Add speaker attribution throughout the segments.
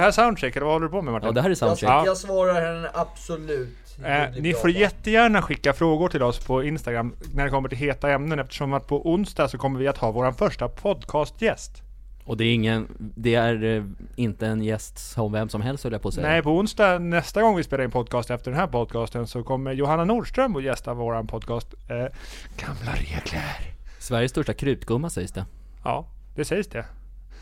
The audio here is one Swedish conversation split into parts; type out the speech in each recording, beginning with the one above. Speaker 1: här soundcheck, eller vad håller du på med Martin?
Speaker 2: Ja, det här är
Speaker 3: Jag,
Speaker 2: soundcheck.
Speaker 1: Ja.
Speaker 3: jag svarar henne absolut. Det
Speaker 1: Eh,
Speaker 3: blir
Speaker 1: ni
Speaker 3: bra
Speaker 1: får
Speaker 3: då.
Speaker 1: jättegärna skicka frågor till oss på Instagram när det kommer till heta ämnen eftersom att på onsdag så kommer vi att ha vår första podcastgäst.
Speaker 2: Och det är ingen, det är eh, inte en gäst som vem som helst höll jag på att säga.
Speaker 1: Nej, på onsdag nästa gång vi spelar in podcast efter den här podcasten så kommer Johanna Nordström att gästa vår podcast. Eh, gamla regler.
Speaker 2: Sveriges största krutgumma sägs det.
Speaker 1: Ja, det sägs det.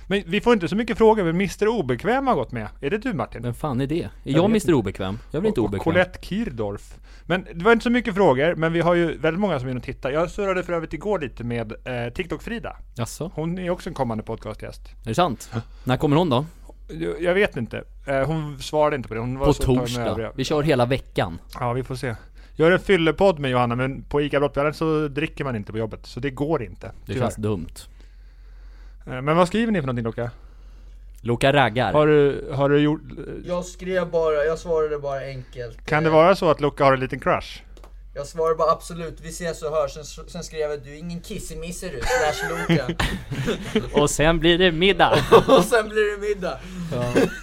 Speaker 1: Men vi får inte så mycket frågor, men Mr Obekväm har gått med. Är det du Martin?
Speaker 2: Vem fan är det? Är
Speaker 1: vet
Speaker 2: jag Mr Obekväm? Jag blir inte
Speaker 1: Och- och
Speaker 2: obekväm.
Speaker 1: Colette Kirdorf. Men det var inte så mycket frågor, men vi har ju väldigt många som är inne och tittar. Jag surrade för övrigt igår lite med eh, TikTok-Frida.
Speaker 2: Jaså?
Speaker 1: Hon är också en kommande podcastgäst.
Speaker 2: Är det sant? När kommer hon då?
Speaker 1: Jag jag vet inte. Eh, Hon svarade inte på det. Hon var
Speaker 2: På
Speaker 1: så upptagen med
Speaker 2: torsdag.
Speaker 1: övriga.
Speaker 2: Vi kör hela veckan.
Speaker 1: Ja, vi får se. Gör en fyllepodd med Johanna, men på ICA Brottbjörnen så dricker man inte på jobbet. Så det går inte.
Speaker 2: Det
Speaker 1: tyvärr.
Speaker 2: känns dumt.
Speaker 1: Eh, Men vad skriver ni för någonting Loka?
Speaker 2: Loka raggar.
Speaker 1: Har du, har du gjort...
Speaker 3: Jag skrev bara, jag svarade bara enkelt.
Speaker 1: Kan
Speaker 3: Eh,
Speaker 1: det vara så att Loka har en liten crush?
Speaker 3: Jag svarade bara absolut, vi ses och hörs. Sen, sen skrev jag du är ingen kissemisse du, slash Loka.
Speaker 2: Och sen blir det middag.
Speaker 3: och sen blir det middag.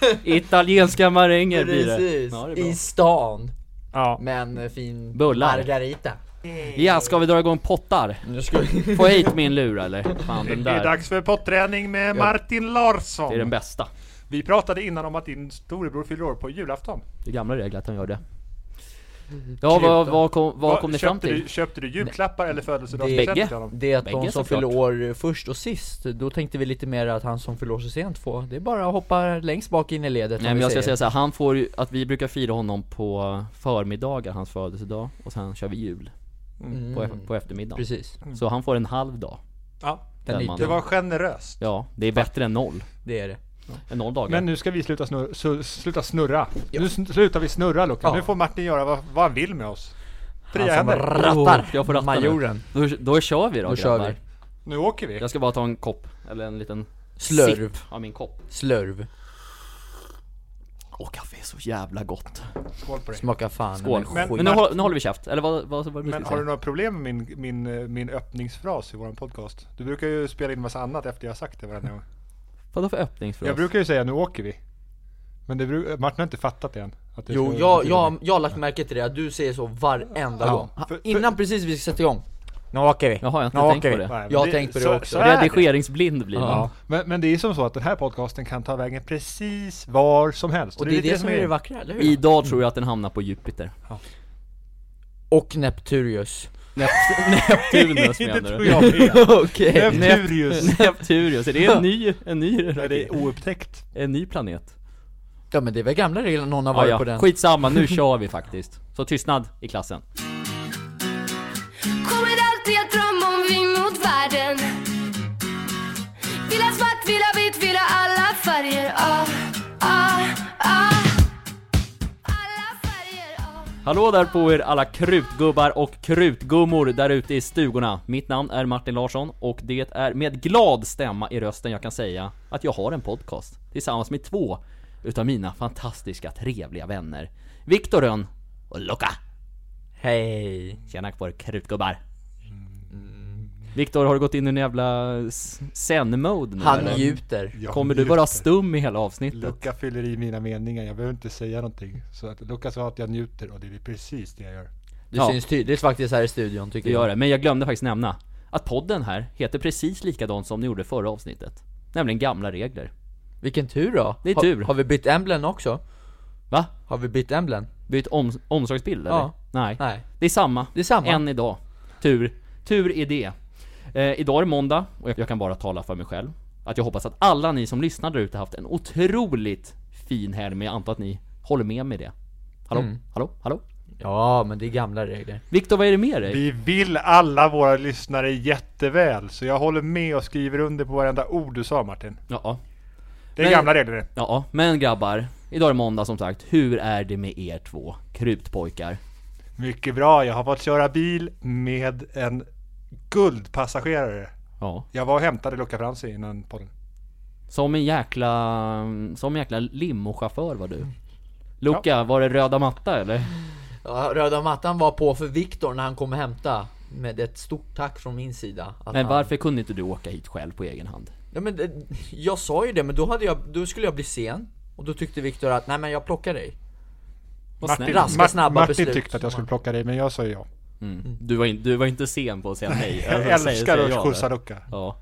Speaker 2: Italienska maränger blir det.
Speaker 3: Precis,
Speaker 2: Ja, det är bra.
Speaker 3: i stan.
Speaker 1: Ja.
Speaker 3: Men eh, fin
Speaker 2: Bullar.
Speaker 3: margarita.
Speaker 2: Ja, ska vi dra igång pottar?
Speaker 3: Nu ska vi...
Speaker 2: Få hit min lur eller? Fan den
Speaker 1: Det är
Speaker 2: där.
Speaker 1: dags för potträning med Martin Larsson.
Speaker 2: Det är den bästa.
Speaker 1: Vi pratade innan om att din storebror fyller år på julafton.
Speaker 2: Det är gamla regler att han gör det. Ja, vad, vad kom, vad
Speaker 1: Vad-
Speaker 2: kom ni
Speaker 1: köpte
Speaker 2: fram till?
Speaker 1: Du, köpte du julklappar eller
Speaker 3: Det-
Speaker 1: födelsedagspresent till
Speaker 2: Bägge.
Speaker 1: honom?
Speaker 3: Det är att
Speaker 2: Bägge
Speaker 3: de som
Speaker 2: såklart.
Speaker 3: fyller år först och sist, då tänkte vi lite mer att han som fyller år så sent får, det är bara att hoppa längst bak in i ledet
Speaker 2: Nej
Speaker 3: om
Speaker 2: men
Speaker 3: vi
Speaker 2: jag ska säga
Speaker 3: säger.
Speaker 2: så här, han får ju, att vi brukar fira honom på förmiddagar, hans födelsedag, och sen kör vi jul
Speaker 3: mm,
Speaker 2: på, på eftermiddagen. Mm.
Speaker 3: Precis,
Speaker 2: Så han får en halv dag.
Speaker 1: Ja,
Speaker 3: den
Speaker 2: Den
Speaker 3: liten,
Speaker 2: mannen.
Speaker 1: det var generöst.
Speaker 2: Ja, det är bättre än noll.
Speaker 3: det är det
Speaker 2: Än noll dagar.
Speaker 1: Men nu ska vi sluta, snurra, su- sluta snurra. Nu sn- slutar vi snurra Luca.
Speaker 3: Ja.
Speaker 1: Nu får Martin göra vad, vad han vill med oss. Fria
Speaker 2: Han som
Speaker 1: händer.
Speaker 2: rattar. Jag får ratta
Speaker 3: Oh, Majoren.
Speaker 2: nu. Då, då kör vi då,
Speaker 3: Då kör
Speaker 2: grabbar.
Speaker 3: vi.
Speaker 1: Nu åker vi.
Speaker 2: Jag ska bara ta en kopp, eller en liten
Speaker 3: Slurv.
Speaker 2: sipp av min kopp.
Speaker 3: Slurv,
Speaker 2: Åh kaffe är så jävla gott.
Speaker 1: Skål på dig.
Speaker 3: smakar fan
Speaker 2: Skål.
Speaker 3: Men,
Speaker 2: Men,
Speaker 3: skit.
Speaker 2: nu, håll- nu håller vi käft, eller vad, vad, vad var det du
Speaker 1: Men har du
Speaker 2: skulle säga?
Speaker 1: några problem med min, min, eh, min öppningsfras i våran podcast? Du brukar ju spela in massa annat efter jag har sagt det varenda gång.
Speaker 2: Vadå för öppningsfras?
Speaker 1: Jag brukar ju säga nu åker vi. Men det bru- Martin har inte fattat det än. Att det
Speaker 3: Jo,
Speaker 1: ska-
Speaker 3: jag, jag, jag har lagt märke till det, att du säger så varenda
Speaker 1: Ja.
Speaker 3: gång
Speaker 1: För- för-
Speaker 3: Innan precis vi sätter igång Nu åker vi
Speaker 2: Jaha, jag har inte
Speaker 3: Nu
Speaker 2: tänkt
Speaker 3: åker
Speaker 2: på
Speaker 3: vi.
Speaker 2: det.
Speaker 1: Nej, men
Speaker 3: Jag har tänkt på det
Speaker 1: så-
Speaker 3: också.
Speaker 1: så är det.
Speaker 2: Redigeringsblind blir man.
Speaker 1: Ja, men, men det är som så att den här podcasten kan ta vägen precis var som helst.
Speaker 3: Och det är det, som är det vackra, eller hur?
Speaker 2: Idag tror jag att den hamnar på Jupiter.
Speaker 3: Och Nepturius
Speaker 2: Nept- Neptunus
Speaker 1: Det
Speaker 2: menar
Speaker 1: tror
Speaker 2: du?
Speaker 1: jag med.
Speaker 3: Okej
Speaker 1: Nepturius.
Speaker 2: Nepturius, är det en ny, en ny,
Speaker 1: Nej, det är
Speaker 2: raket?
Speaker 1: oupptäckt.
Speaker 2: en ny planet?
Speaker 3: Ja men det är väl gamla regler, någon har
Speaker 2: Ja,
Speaker 3: varit
Speaker 2: ja.
Speaker 3: på den
Speaker 2: skitsamma, nu kör vi faktiskt. Så tystnad i klassen.
Speaker 4: Kommer alltid att drömma om vi mot världen Vill ha svart, vill ha vitt, vill ha alla färger ah, ah, ah. Alla färger ah.
Speaker 2: Hallå där på er alla krutgubbar och krutgummor där ute i stugorna. Mitt namn är Martin Larsson och det är med glad stämma i rösten jag kan säga att jag har en podcast tillsammans med två utav mina fantastiska trevliga vänner. Viktor Rönn och Luca.
Speaker 3: Hej
Speaker 2: Tjena på er krutgubbar. Viktor, har du gått in i en jävla s- zen-mode nu
Speaker 3: Han
Speaker 2: eller?
Speaker 3: njuter
Speaker 1: Jag
Speaker 2: Kommer du
Speaker 1: njuter.
Speaker 2: vara stum i hela avsnittet?
Speaker 1: Luca fyller i mina meningar, jag behöver inte säga någonting. Så att Luca sa att jag njuter och det är precis det jag gör.
Speaker 3: Det
Speaker 2: Ja.
Speaker 3: syns tydligt faktiskt här i studion tycker
Speaker 2: Det gör
Speaker 3: jag
Speaker 2: det, men jag glömde faktiskt nämna att podden här heter precis likadant som ni gjorde förra avsnittet. Nämligen gamla regler.
Speaker 3: Vilken tur då!
Speaker 2: Det är
Speaker 3: Ha-
Speaker 2: tur.
Speaker 3: Har vi bytt emblem också?
Speaker 2: Va?
Speaker 3: Har vi bytt emblem?
Speaker 2: Bytt om, omslagsbild eller?
Speaker 3: Ja.
Speaker 2: Nej.
Speaker 3: Nej
Speaker 2: Det är samma.
Speaker 3: Det är samma.
Speaker 2: Än idag. Tur. Tur är det. Eh, idag är det måndag och jag, jag kan bara tala för mig själv. Att jag hoppas att alla ni som lyssnar där ute haft en otroligt fin helg, men jag antar att ni håller med mig i det. Hallå?
Speaker 3: Mm.
Speaker 2: Hallå? Hallå?
Speaker 3: Ja men det är gamla regler
Speaker 2: Viktor, vad är det med dig?
Speaker 1: Vi vill alla våra lyssnare jätteväl, så jag håller med och skriver under på varenda ord du sa Martin.
Speaker 2: Ja,
Speaker 1: Det är
Speaker 2: Men-
Speaker 1: gamla regler det.
Speaker 2: ja, men grabbar. Idag är det måndag som sagt. Hur är det med er två krutpojkar?
Speaker 1: Mycket bra, jag har fått köra bil med en guldpassagerare.
Speaker 2: Ja.
Speaker 1: Jag var och hämtade Luca Franzi innan podden.
Speaker 2: Som en jäkla, som en jäkla limochaufför var
Speaker 1: Mm.
Speaker 2: du. Luca, var det röda matta eller?
Speaker 3: Ja, Röda mattan var på för Viktor när han kom och hämta Med ett stort tack från min sida att
Speaker 2: Men
Speaker 3: han-
Speaker 2: varför kunde inte du åka hit själv på egen hand?
Speaker 3: Ja men det, jag sa ju det, men då hade jag, då skulle jag bli sen Och då tyckte Viktor att, nej men jag plockar dig.
Speaker 2: Vad
Speaker 1: Martin,
Speaker 2: snällt.
Speaker 3: Raska, snabba
Speaker 1: Martin
Speaker 3: beslut.
Speaker 1: tyckte att jag skulle plocka dig, men jag sa ja.
Speaker 2: Mm. Du, var in, du var inte sen på att säga nej.
Speaker 1: Jag
Speaker 2: Alltså, säger-
Speaker 1: älskar
Speaker 2: säger
Speaker 1: att
Speaker 2: jag
Speaker 1: skjutsa
Speaker 2: där.
Speaker 1: Luca.
Speaker 2: Ja.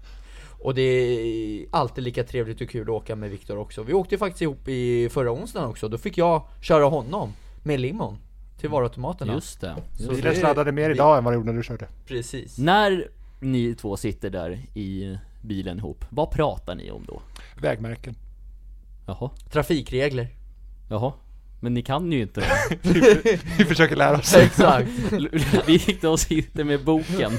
Speaker 3: Och det är alltid lika trevligt och kul att åka med Viktor också. Vi åkte faktiskt ihop i förra onsdagen också, då fick jag köra honom med limon till varuautomaterna.
Speaker 2: Just det.
Speaker 3: Så
Speaker 1: Bilen
Speaker 3: det-
Speaker 1: sladdade mer
Speaker 3: vi-
Speaker 1: idag än vad det gjorde när du körde.
Speaker 3: Precis.
Speaker 2: När ni två sitter där i bilen ihop, vad pratar ni om då?
Speaker 1: Vägmärken.
Speaker 2: Jaha,
Speaker 3: Trafikregler.
Speaker 2: jaha. Men ni kan ju inte
Speaker 1: Vi försöker lära oss.
Speaker 3: Exakt.
Speaker 2: Vi gick då och sitter med boken.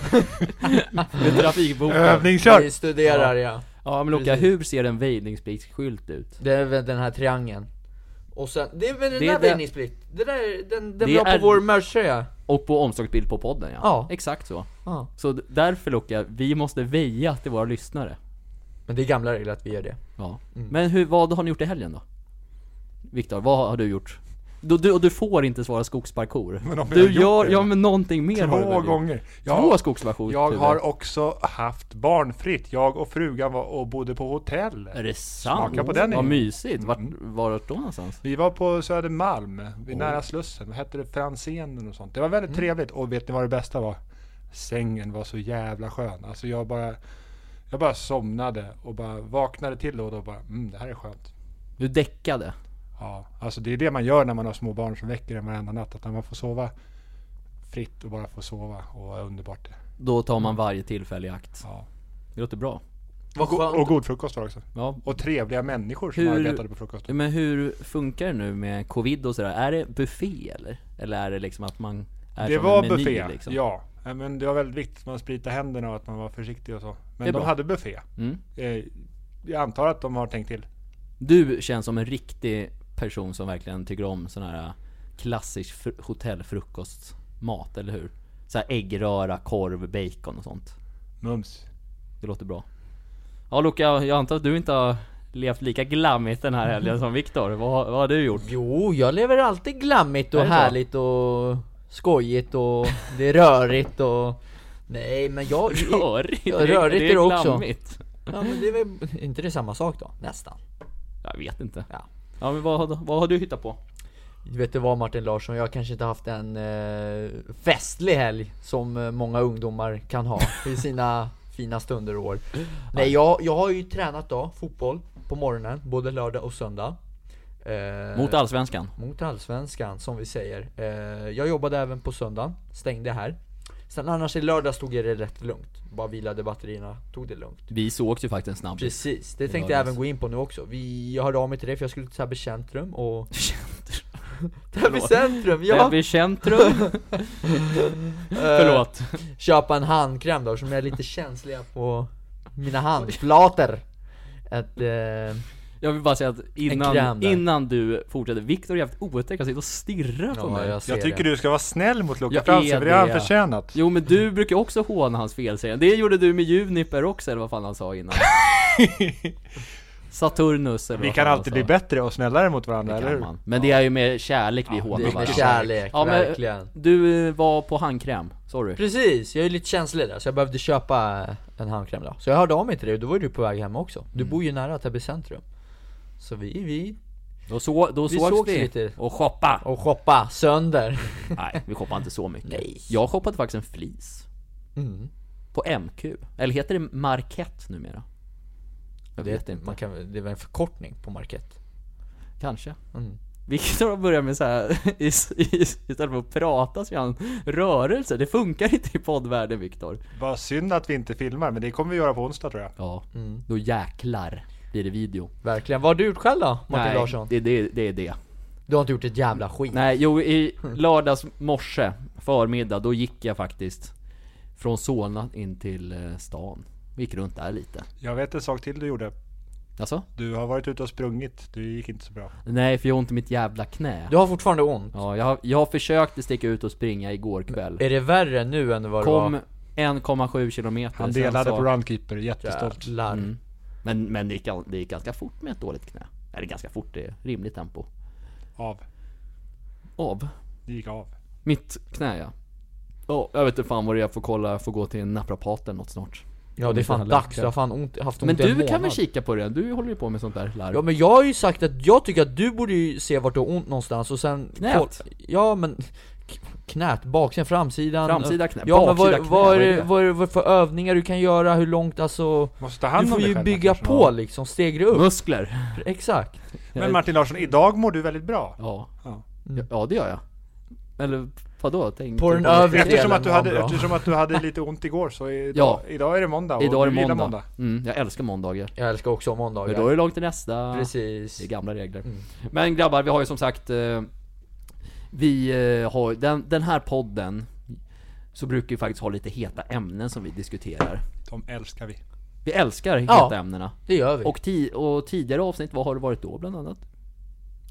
Speaker 2: med trafikboken.
Speaker 1: Övningskör!
Speaker 3: Vi studerar ja.
Speaker 2: Ja men Luca,
Speaker 3: Precis.
Speaker 2: hur ser en väjningspliktsskylt ut?
Speaker 3: Det är väl den här triangeln. Och sen, det är väl den
Speaker 2: Det är
Speaker 3: där
Speaker 2: det-
Speaker 3: väjningsplikt? Det där, den, den
Speaker 2: Det
Speaker 3: vi har
Speaker 2: är-
Speaker 3: på vår merchtröja.
Speaker 2: Och på omslagsbild på podden ja.
Speaker 3: Ja.
Speaker 2: Exakt så.
Speaker 3: Ja.
Speaker 2: Så d- därför Luca, vi måste väja till våra lyssnare.
Speaker 3: Men det är gamla regler att vi gör det.
Speaker 2: Ja. Men hur, vad har ni gjort i helgen då? Viktor, vad har du gjort? Du, du, och du får inte svara skogsparkour.
Speaker 1: Men om jag
Speaker 2: Du
Speaker 1: har gjort
Speaker 2: gör,
Speaker 1: det?
Speaker 2: ja men någonting mer har du väl
Speaker 1: Två
Speaker 2: gjort?
Speaker 1: gånger.
Speaker 2: Två
Speaker 1: Jag,
Speaker 2: skogsparkour.
Speaker 1: jag har också haft barnfritt. Jag och frugan var och bodde på hotell.
Speaker 2: Är det sant?
Speaker 1: Smaka på den
Speaker 2: Vad
Speaker 1: igen. Mm.
Speaker 2: mysigt. Vart, vart då någonstans?
Speaker 1: Vi var på Södermalm, vid nära Slussen. Vad hette det? Franzén och sånt. Det var väldigt trevligt. Och vet ni vad det bästa var? Sängen var så jävla skön. Alltså jag bara... Jag bara somnade och bara vaknade till då och då och bara, mm, det här är skönt.
Speaker 2: Du däckade.
Speaker 1: Ja, alltså det är det man gör när man har små barn som väcker en varenda natt. Att när man får sova fritt och bara får sova och är underbart det.
Speaker 2: Då tar man varje tillfälle i akt.
Speaker 1: Ja.
Speaker 2: Det låter bra.
Speaker 3: Vad
Speaker 1: Go-
Speaker 3: skönt.
Speaker 1: och god frukost var det också.
Speaker 2: Ja.
Speaker 1: Och trevliga människor som
Speaker 2: Hur-
Speaker 1: arbetade på frukosten.
Speaker 2: Men hur funkar det nu med covid och sådär? Är det buffé eller? Eller är det liksom att man är
Speaker 1: Det
Speaker 2: som
Speaker 1: var
Speaker 2: en meny,
Speaker 1: buffé,
Speaker 2: liksom?
Speaker 1: ja. Nej, Men det var väldigt viktigt att man spritade händerna och att man var försiktig och så. Men
Speaker 2: är
Speaker 1: de
Speaker 2: bra.
Speaker 1: hade buffé.
Speaker 2: Mm.
Speaker 1: Eh, Jag antar att de har tänkt till.
Speaker 2: Du känns som en riktig person som verkligen tycker om sån här äh, klassisk fr- hotellfrukostmat, eller hur? Så här äggröra, korv, bacon och sånt.
Speaker 1: Mums.
Speaker 2: Det låter bra. Ja Luca, jag antar att du inte har levt lika glammigt den här helgen som Viktor. Vad, vad har du gjort?
Speaker 3: Jo, jag lever alltid glammigt och
Speaker 2: Är det så?
Speaker 3: härligt och skojigt och det är rörigt och... Nej men jag...
Speaker 2: Rörigt?
Speaker 3: Ja,
Speaker 2: Det är-
Speaker 3: rörigt
Speaker 2: det
Speaker 3: är det också.
Speaker 2: glammigt.
Speaker 3: Ja men det är väl inte det samma sak då? Nästan.
Speaker 2: Jag vet inte.
Speaker 3: Ja.
Speaker 2: Ja men vad, har- vad har du hittat på?
Speaker 3: Vet du vad Martin Larsson, jag har kanske inte haft en eh, festlig helg som eh, många ungdomar kan ha i sina fina stunder och år. Nej, jag, jag har ju tränat då, fotboll, på morgonen, både lördag och söndag. Eh,
Speaker 2: Mot Allsvenskan?
Speaker 3: mot Allsvenskan, som vi säger. Eh, jag jobbade även på söndagen, stängde här. Sen annars i lördag stod jag det rätt lugnt. Bara vilade batterierna, tog det lugnt.
Speaker 2: Vi sågs ju faktiskt en snabbis.
Speaker 3: Precis, det tänkte jag även gå in på nu också. Vi, jag hörde av mig till dig för jag skulle till Täby centrum och... Täby
Speaker 2: Förlåt.
Speaker 3: centrum, ja!
Speaker 2: Täby Äh, centrum,
Speaker 3: Eh,
Speaker 2: förlåt.
Speaker 3: köpa en handkräm då, som är lite känsliga på mina handflator. Ett, eh,
Speaker 2: Jag vill bara säga att
Speaker 3: kräm
Speaker 2: innan,
Speaker 3: där.
Speaker 2: innan du fortsätter, Viktor är jävligt otäck, han sitter och stirrar på mig.
Speaker 1: Jag tycker du ska vara snäll mot Loke
Speaker 2: Jag
Speaker 1: Fransson,
Speaker 2: är
Speaker 1: för det har
Speaker 2: det.
Speaker 1: han förtjänat.
Speaker 2: Jo men du brukar också håna hans felsägning, det gjorde du med Juniper också eller vad fan han sa innan. Saturnus eller
Speaker 1: Vi
Speaker 2: vad
Speaker 1: kan
Speaker 2: fan han
Speaker 1: alltid
Speaker 2: sa.
Speaker 1: bli bättre och snällare mot varandra,
Speaker 2: alltså. Det
Speaker 1: eller
Speaker 2: kan
Speaker 1: hur?
Speaker 2: man. Men det är ju med kärlek vi
Speaker 3: Det
Speaker 2: hånar
Speaker 3: är med
Speaker 2: varandra.
Speaker 3: kärlek,
Speaker 2: Ja, men-
Speaker 3: verkligen.
Speaker 2: Du eh, var på handkräm, sorry.
Speaker 3: Precis, jag är lite känslig där så jag behövde köpa en handkräm då. Så jag hörde av mig till dig och då var ju du på väg hem också. Du
Speaker 2: Mm.
Speaker 3: bor ju nära Täby centrum. Så vi, vi...
Speaker 2: Då, så, då
Speaker 3: Vi
Speaker 2: sågs
Speaker 3: sågs
Speaker 2: vi
Speaker 3: lite.
Speaker 2: och shoppa.
Speaker 3: Och shoppa sönder.
Speaker 2: Nej, vi shoppade inte så mycket.
Speaker 3: Nej.
Speaker 2: Jag shoppade faktiskt en flis.
Speaker 3: Mm.
Speaker 2: På MQ. Eller heter det Market numera? Jag vet inte.
Speaker 3: Man kan, väl- det var en förkortning på Market.
Speaker 2: Kanske.
Speaker 3: Mm.
Speaker 2: Viktor har börjat med så här, i, i, istället för att prata så gör han rörelser. Det funkar inte i poddvärlden Viktor.
Speaker 1: Vad synd att vi inte filmar, men det kommer vi göra på onsdag tror jag.
Speaker 2: Ja, då jäklar blir det video.
Speaker 3: Verkligen. Vad har du gjort själv då, Martin
Speaker 2: Nej,
Speaker 3: Larsson?
Speaker 2: Det, det, det är det.
Speaker 3: Du har inte gjort ett jävla skit.
Speaker 2: Nej, jo i lördags morse, förmiddag, då gick jag faktiskt från Solna in till eh, stan. Gick runt där lite.
Speaker 1: Jag vet en sak till du gjorde.
Speaker 2: Alltså?
Speaker 1: Du har varit ute och sprungit, det gick inte så bra.
Speaker 2: Nej, för jag har ont i mitt jävla knä.
Speaker 3: Du har fortfarande ont.
Speaker 2: Ja, jag, har- jag försökte sticka ut och springa igår kväll.
Speaker 3: Är det värre nu än vad
Speaker 2: Kom
Speaker 3: det
Speaker 2: 1,7 kilometer.
Speaker 1: Han
Speaker 2: sen
Speaker 1: delade
Speaker 2: så-
Speaker 1: på Runkeeper,
Speaker 3: var?
Speaker 1: jättestolt.
Speaker 3: Jävlar.
Speaker 2: Men, men det, gick, all- det gick ganska fort med ett dåligt knä. Eller ganska fort, det är rimligt tempo.
Speaker 1: Av.
Speaker 2: Av.
Speaker 1: Det gick av.
Speaker 2: Mitt knä ja. Ja, jag vet inte fan vad det är, jag får kolla, jag får gå Mm. till en naprapat eller något snart.
Speaker 3: Ja det är fan dags, jag har fan ont, haft ont
Speaker 2: Men
Speaker 3: i en
Speaker 2: du kan väl
Speaker 3: månad.
Speaker 2: kika på det? Du håller ju på med sånt där larv.
Speaker 3: Ja men jag har ju sagt att jag tycker att du borde ju se vart du har ont någonstans och sen
Speaker 2: Knät.
Speaker 3: Ja men k- Knät, baksidan, framsidan
Speaker 2: Framsida knä,
Speaker 3: Ja men vad,
Speaker 2: baksida knä,
Speaker 3: vad, är det,
Speaker 2: det?
Speaker 3: vad, är det, vad för övningar du kan göra, hur långt alltså
Speaker 1: Måste ta
Speaker 3: Du
Speaker 1: hand om
Speaker 3: får
Speaker 1: dig
Speaker 3: ju
Speaker 1: själv,
Speaker 3: bygga
Speaker 1: Martin.
Speaker 3: på liksom, stegra upp,
Speaker 2: Muskler.
Speaker 3: exakt
Speaker 1: Men Martin Larsson, idag mår du väldigt bra.
Speaker 2: Ja.
Speaker 1: Ja.
Speaker 2: Ja, ja, det gör jag. Eller vadå? Tänk
Speaker 3: På den
Speaker 2: tänk-
Speaker 3: övre
Speaker 1: Eftersom
Speaker 3: delen
Speaker 1: att, du
Speaker 3: mår han
Speaker 1: hade,
Speaker 3: bra.
Speaker 1: eftersom att du hade lite ont igår så idag,
Speaker 2: Ja.
Speaker 1: idag är det måndag och
Speaker 2: Idag är
Speaker 1: du
Speaker 2: det
Speaker 1: gillar
Speaker 2: måndag. Mm, jag älskar måndagar.
Speaker 3: Jag älskar också
Speaker 2: Men då är
Speaker 3: måndagar,
Speaker 2: det långt till nästa.
Speaker 3: precis
Speaker 2: Det är gamla regler. Men grabbar, vi har ju som sagt eh, Vi eh, har den, den här podden Så brukar vi faktiskt ha lite heta ämnen som vi diskuterar
Speaker 1: De älskar vi.
Speaker 2: Vi älskar heta
Speaker 3: Ja.
Speaker 2: ämnena
Speaker 3: Det gör vi,
Speaker 2: och, ti- och tidigare avsnitt, vad har det varit då bland annat?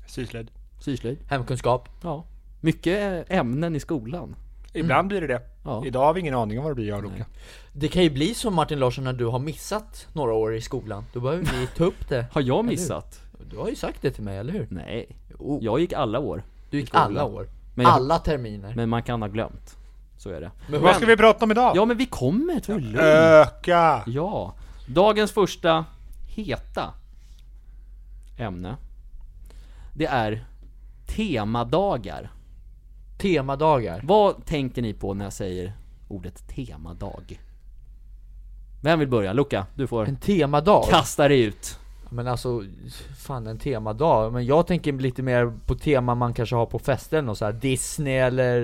Speaker 1: Syslöjd.
Speaker 2: Syslöjd?
Speaker 3: hemkunskap
Speaker 2: Ja Mycket eh, ämnen i skolan
Speaker 1: Ibland blir det det.
Speaker 2: Mm. Ja.
Speaker 1: Idag har vi ingen aning om vad det blir jag och Luka.
Speaker 3: Det kan ju bli som Martin Larsson när du har missat några år i skolan, då behöver vi ta upp det
Speaker 2: Har jag missat?
Speaker 3: Du har ju sagt det till mig, eller hur?
Speaker 2: Nej
Speaker 3: Oh.
Speaker 2: Jag gick alla år
Speaker 3: Du gick
Speaker 2: skolan.
Speaker 3: alla år,
Speaker 2: Men jag-
Speaker 3: alla terminer
Speaker 2: Men man kan ha glömt Så är det
Speaker 3: Men
Speaker 1: Vad ska vi prata om idag?
Speaker 2: Ja men vi kommer, ta det lugnt.
Speaker 1: Öka!
Speaker 2: Ja, dagens första heta ämne Det är temadagar
Speaker 3: Temadagar
Speaker 2: Vad tänker ni på när jag säger ordet temadag? Vem vill börja? Luca, du får
Speaker 3: En temadag?
Speaker 2: kasta dig ut
Speaker 3: Men alltså, fan en temadag. Men jag tänker lite mer på tema man kanske har på fester eller något så här Disney eller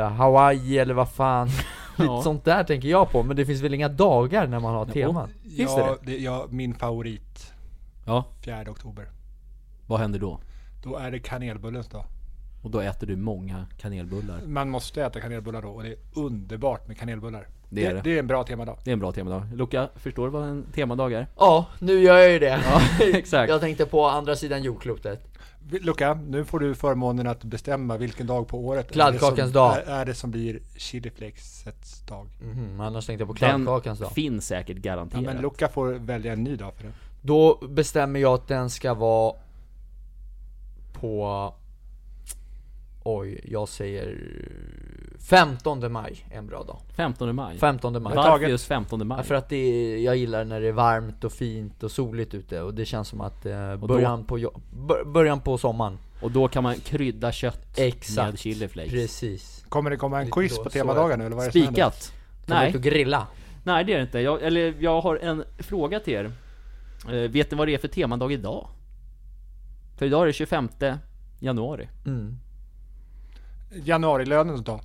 Speaker 3: eh, Hawaii eller vad fan. Lite
Speaker 2: Ja.
Speaker 3: sånt där tänker jag på. Men det finns väl inga dagar när man har teman?
Speaker 2: Finns det
Speaker 1: Ja, det, ja, min favorit.
Speaker 2: Ja,
Speaker 1: 4 oktober.
Speaker 2: vad händer då?
Speaker 1: Då är det kanelbullens dag.
Speaker 2: Och då äter du många kanelbullar
Speaker 1: Man måste äta kanelbullar då och det är underbart med kanelbullar.
Speaker 2: Det är det.
Speaker 1: det är en bra temadag.
Speaker 2: Det är en bra temadag Luca, förstår du vad en temadag är?
Speaker 3: Ja, nu gör jag ju det.
Speaker 2: exakt.
Speaker 3: Jag tänkte på andra sidan jordklotet.
Speaker 1: Luca, nu får du förmånen att bestämma vilken dag på året
Speaker 3: Kladdkakans
Speaker 1: är, det som,
Speaker 3: dag.
Speaker 1: Är, är det som blir chiliflexets dag.
Speaker 3: Mhm, annars tänkte jag på
Speaker 2: Den
Speaker 3: kladdkakans dag.
Speaker 2: finns säkert
Speaker 1: Ja,
Speaker 2: garanterat
Speaker 1: men Luca får välja en ny dag för det.
Speaker 3: Då bestämmer jag att den ska vara på... Oj, jag säger 15 maj är en bra dag.
Speaker 2: 15 maj
Speaker 3: 15 maj.
Speaker 2: Varför
Speaker 1: Taget.
Speaker 2: just 15 maj?
Speaker 3: Ja, för att det är, jag gillar när det är varmt och fint och soligt ute och det känns som att eh,
Speaker 2: då-
Speaker 3: början, på jo- bör, början på sommaren
Speaker 2: Och då kan man krydda kött
Speaker 3: Exakt.
Speaker 2: med chiliflakes
Speaker 3: Precis
Speaker 1: Kommer det komma en
Speaker 3: Lite
Speaker 1: quiz
Speaker 3: då,
Speaker 1: på
Speaker 3: så är
Speaker 1: temadagen nu eller vad är det som händer?
Speaker 2: Spikat!
Speaker 3: Ta ut
Speaker 2: Nej,
Speaker 3: och grilla
Speaker 2: nej det är det inte. Jag, eller jag har en fråga till er. Eh, vet ni vad det är för temadag idag? För idag är det 25 januari.
Speaker 3: mm.
Speaker 1: Januarilönens dag.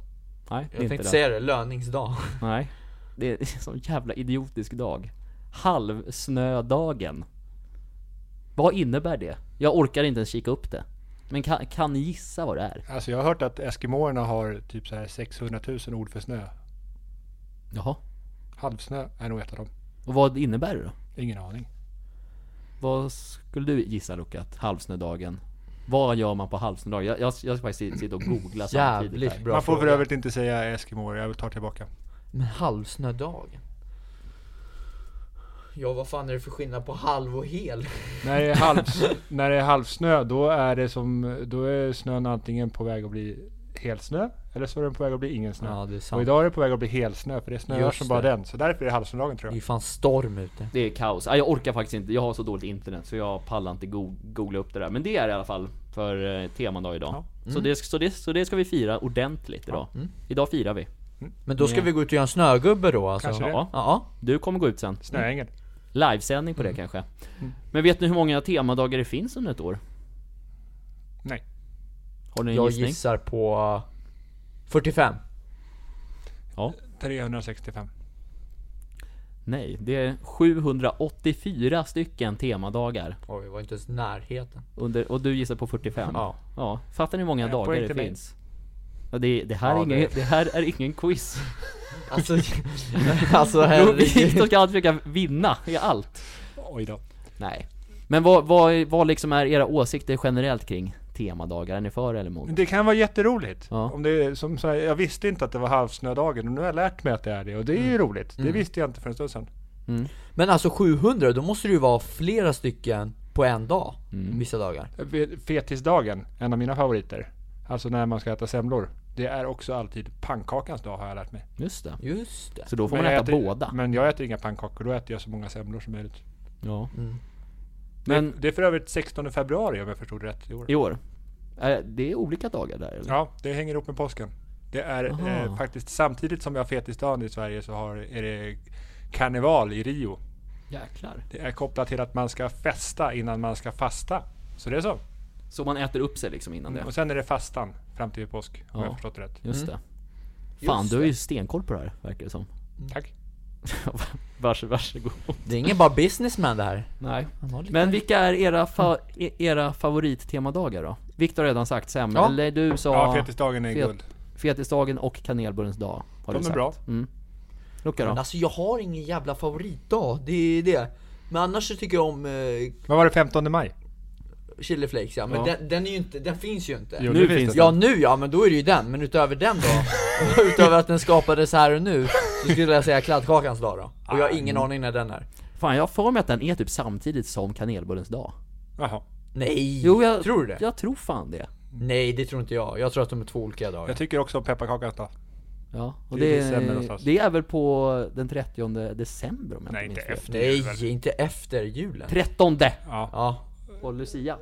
Speaker 2: Nej, det
Speaker 3: Jag
Speaker 2: är inte
Speaker 3: tänkte
Speaker 2: det.
Speaker 3: säga det, löningsdag
Speaker 2: Nej. Det är en sån jävla idiotisk dag. Halvsnödagen. Vad innebär det? Jag orkar inte ens kika upp det. Men kan, kan ni gissa vad det är?
Speaker 1: Alltså jag har hört att Eskimoerna har typ så här 600 000 ord för snö.
Speaker 2: Jaha.
Speaker 1: Halvsnö är nog ett av dem.
Speaker 2: Och vad innebär det då?
Speaker 1: Ingen aning.
Speaker 2: Vad skulle du gissa Luca? att Halvsnödagen? Vad gör man på halvsnödagen? Jag, jag, jag ska faktiskt sitta och googla samtidigt här.
Speaker 3: Jävligt bra
Speaker 1: Man får för
Speaker 3: fråga.
Speaker 1: övrigt inte säga Eskimoer, jag tar tillbaka.
Speaker 3: Men halvsnödagen Ja vad fan är det för skillnad på halv och hel?
Speaker 1: När det, är halvs, när det är halvsnö, då är det som, då är snön antingen på väg att bli helsnö, eller så är den på väg att bli ingen snö.
Speaker 3: Ja det är
Speaker 1: och
Speaker 3: sant
Speaker 1: idag är det på väg att bli helsnö, för det snöar
Speaker 3: Just
Speaker 1: som bara
Speaker 3: det.
Speaker 1: den. Så därför är det halvsnödagen
Speaker 3: Det
Speaker 1: tror
Speaker 3: är
Speaker 1: jag.
Speaker 3: ju fan storm ute
Speaker 2: Det är kaos. Nej, Jag orkar faktiskt inte. Jag har så dåligt internet så jag pallar inte go- googla upp det där. Men det är i alla fall för eh, temadag idag.
Speaker 3: Mm.
Speaker 2: Så, det, så, det, så det ska vi fira ordentligt idag. Idag firar vi.
Speaker 3: Men då ska vi gå ut och göra en snögubbe då alltså
Speaker 1: Kanske det.
Speaker 3: Ja, ja.
Speaker 2: Du kommer gå ut sen.
Speaker 1: Snöängel.
Speaker 2: Livesändning på det
Speaker 3: Mm.
Speaker 2: kanske. Men vet ni hur många temadagar det finns under ett år?
Speaker 1: Nej.
Speaker 2: Har ni en
Speaker 3: Jag
Speaker 2: gissning?
Speaker 3: gissar på eh, 45
Speaker 2: Ja.
Speaker 1: 365.
Speaker 2: Nej, det är 784 stycken temadagar.
Speaker 3: Oj, det var inte ens närheten
Speaker 2: Under, och du gissar på 45?
Speaker 3: Ja.
Speaker 2: ja. Fattar ni hur många
Speaker 1: Jag får
Speaker 2: dagar det
Speaker 1: inte med.
Speaker 2: finns? Ja, det, det, här
Speaker 3: Ja,
Speaker 2: är ingen,
Speaker 3: det-
Speaker 2: det. här är ingen quiz.
Speaker 3: Alltså, alltså herregud
Speaker 2: Viktor ska alltid försöka vinna i allt.
Speaker 1: Oj då.
Speaker 2: Nej. Men vad, vad, är- vad liksom är era åsikter generellt kring temadagar? Är ni för eller emot?
Speaker 1: Men Det kan vara jätteroligt.
Speaker 2: Ja.
Speaker 1: Om det är, som så här, jag visste inte att det var halvsnödagen, men nu har jag lärt mig att det är det. Och det är ju
Speaker 3: Mm.
Speaker 1: roligt. Det visste jag inte för en stund sedan.
Speaker 3: Men alltså 700, då måste det ju vara flera stycken på en dag, vissa dagar
Speaker 1: Fetisdagen, en av mina favoriter. Alltså när man ska äta semlor. Det är också alltid pannkakans dag har jag lärt mig.
Speaker 2: Just det.
Speaker 3: Just det.
Speaker 2: Så då får
Speaker 1: Men
Speaker 2: man
Speaker 1: jag
Speaker 2: äta
Speaker 1: äter,
Speaker 2: båda.
Speaker 1: Men jag äter inga pannkakor, då äter jag så många semlor som möjligt.
Speaker 2: Ja.
Speaker 3: Mm.
Speaker 2: Men
Speaker 1: Det är för övrigt 16 februari om jag förstod rätt i år.
Speaker 2: i år? Eh, Det är olika dagar där eller?
Speaker 1: Ja, det hänger ihop med påsken. Det är
Speaker 2: Aha.
Speaker 1: eh, faktiskt samtidigt som vi har fetisdagen i Sverige så har, är det karneval i Rio.
Speaker 2: Jäklar.
Speaker 1: Det är kopplat till att man ska festa innan man ska fasta. Så det är så.
Speaker 2: Så man äter upp sig liksom innan det?
Speaker 1: Och sen är det fastan fram till påsk om
Speaker 2: Ja.
Speaker 1: jag har förstått det rätt.
Speaker 2: Just
Speaker 3: Mm.
Speaker 2: det. Fan,
Speaker 3: Just
Speaker 2: du har ju stenkoll på det här, verkar det som.
Speaker 1: Tack.
Speaker 2: Vars, varsågod.
Speaker 3: Det är ingen bara businessman det här.
Speaker 2: Nej.
Speaker 3: Han har lite-
Speaker 2: Men vilka är era, fa- e- era favorittemadagar då? Viktor har redan sagt semla,
Speaker 3: Ja.
Speaker 2: eller du
Speaker 1: Ja,
Speaker 2: sa
Speaker 1: fetisdagen är
Speaker 2: fet-
Speaker 1: guld.
Speaker 2: fetisdagen och kanelbullens dag.
Speaker 1: De
Speaker 2: Har du
Speaker 1: är
Speaker 2: sagt.
Speaker 1: bra.
Speaker 2: Mm. Luca
Speaker 3: Men
Speaker 2: då?
Speaker 3: alltså jag har ingen jävla favoritdag, det är det. Men annars så tycker jag om eh,
Speaker 1: Vad var det 15 maj?
Speaker 3: chili flakes ja, men
Speaker 2: Ja.
Speaker 3: Den, den är ju inte, den finns ju inte.
Speaker 1: Jo,
Speaker 2: Nu
Speaker 1: det
Speaker 2: finns
Speaker 3: Ja nu ja, men då är det ju den, men utöver den då? utöver att den skapades här och nu, så skulle jag säga kladdkakans dag då. Och jag har ingen aning när den är.
Speaker 2: Fan, jag har för mig att den är typ samtidigt som kanelbullens dag.
Speaker 1: Jaha.
Speaker 3: Nej!
Speaker 2: Jo, jag-
Speaker 3: Tror du det?
Speaker 2: Jag tror fan det.
Speaker 3: Nej det tror inte jag, jag tror att de är två olika dagar.
Speaker 1: Jag tycker också om pepparkakans dag.
Speaker 2: Ja, och
Speaker 1: Det är
Speaker 2: det,
Speaker 1: december
Speaker 2: är,
Speaker 1: någonstans.
Speaker 2: det är väl på den 30 december om jag
Speaker 1: Nej,
Speaker 2: inte minns
Speaker 1: inte
Speaker 2: fel?
Speaker 1: efter
Speaker 3: Nej,
Speaker 1: jul.
Speaker 3: inte efter julen.
Speaker 2: 13!
Speaker 1: Ja.
Speaker 3: Ja,
Speaker 2: Och Lucia.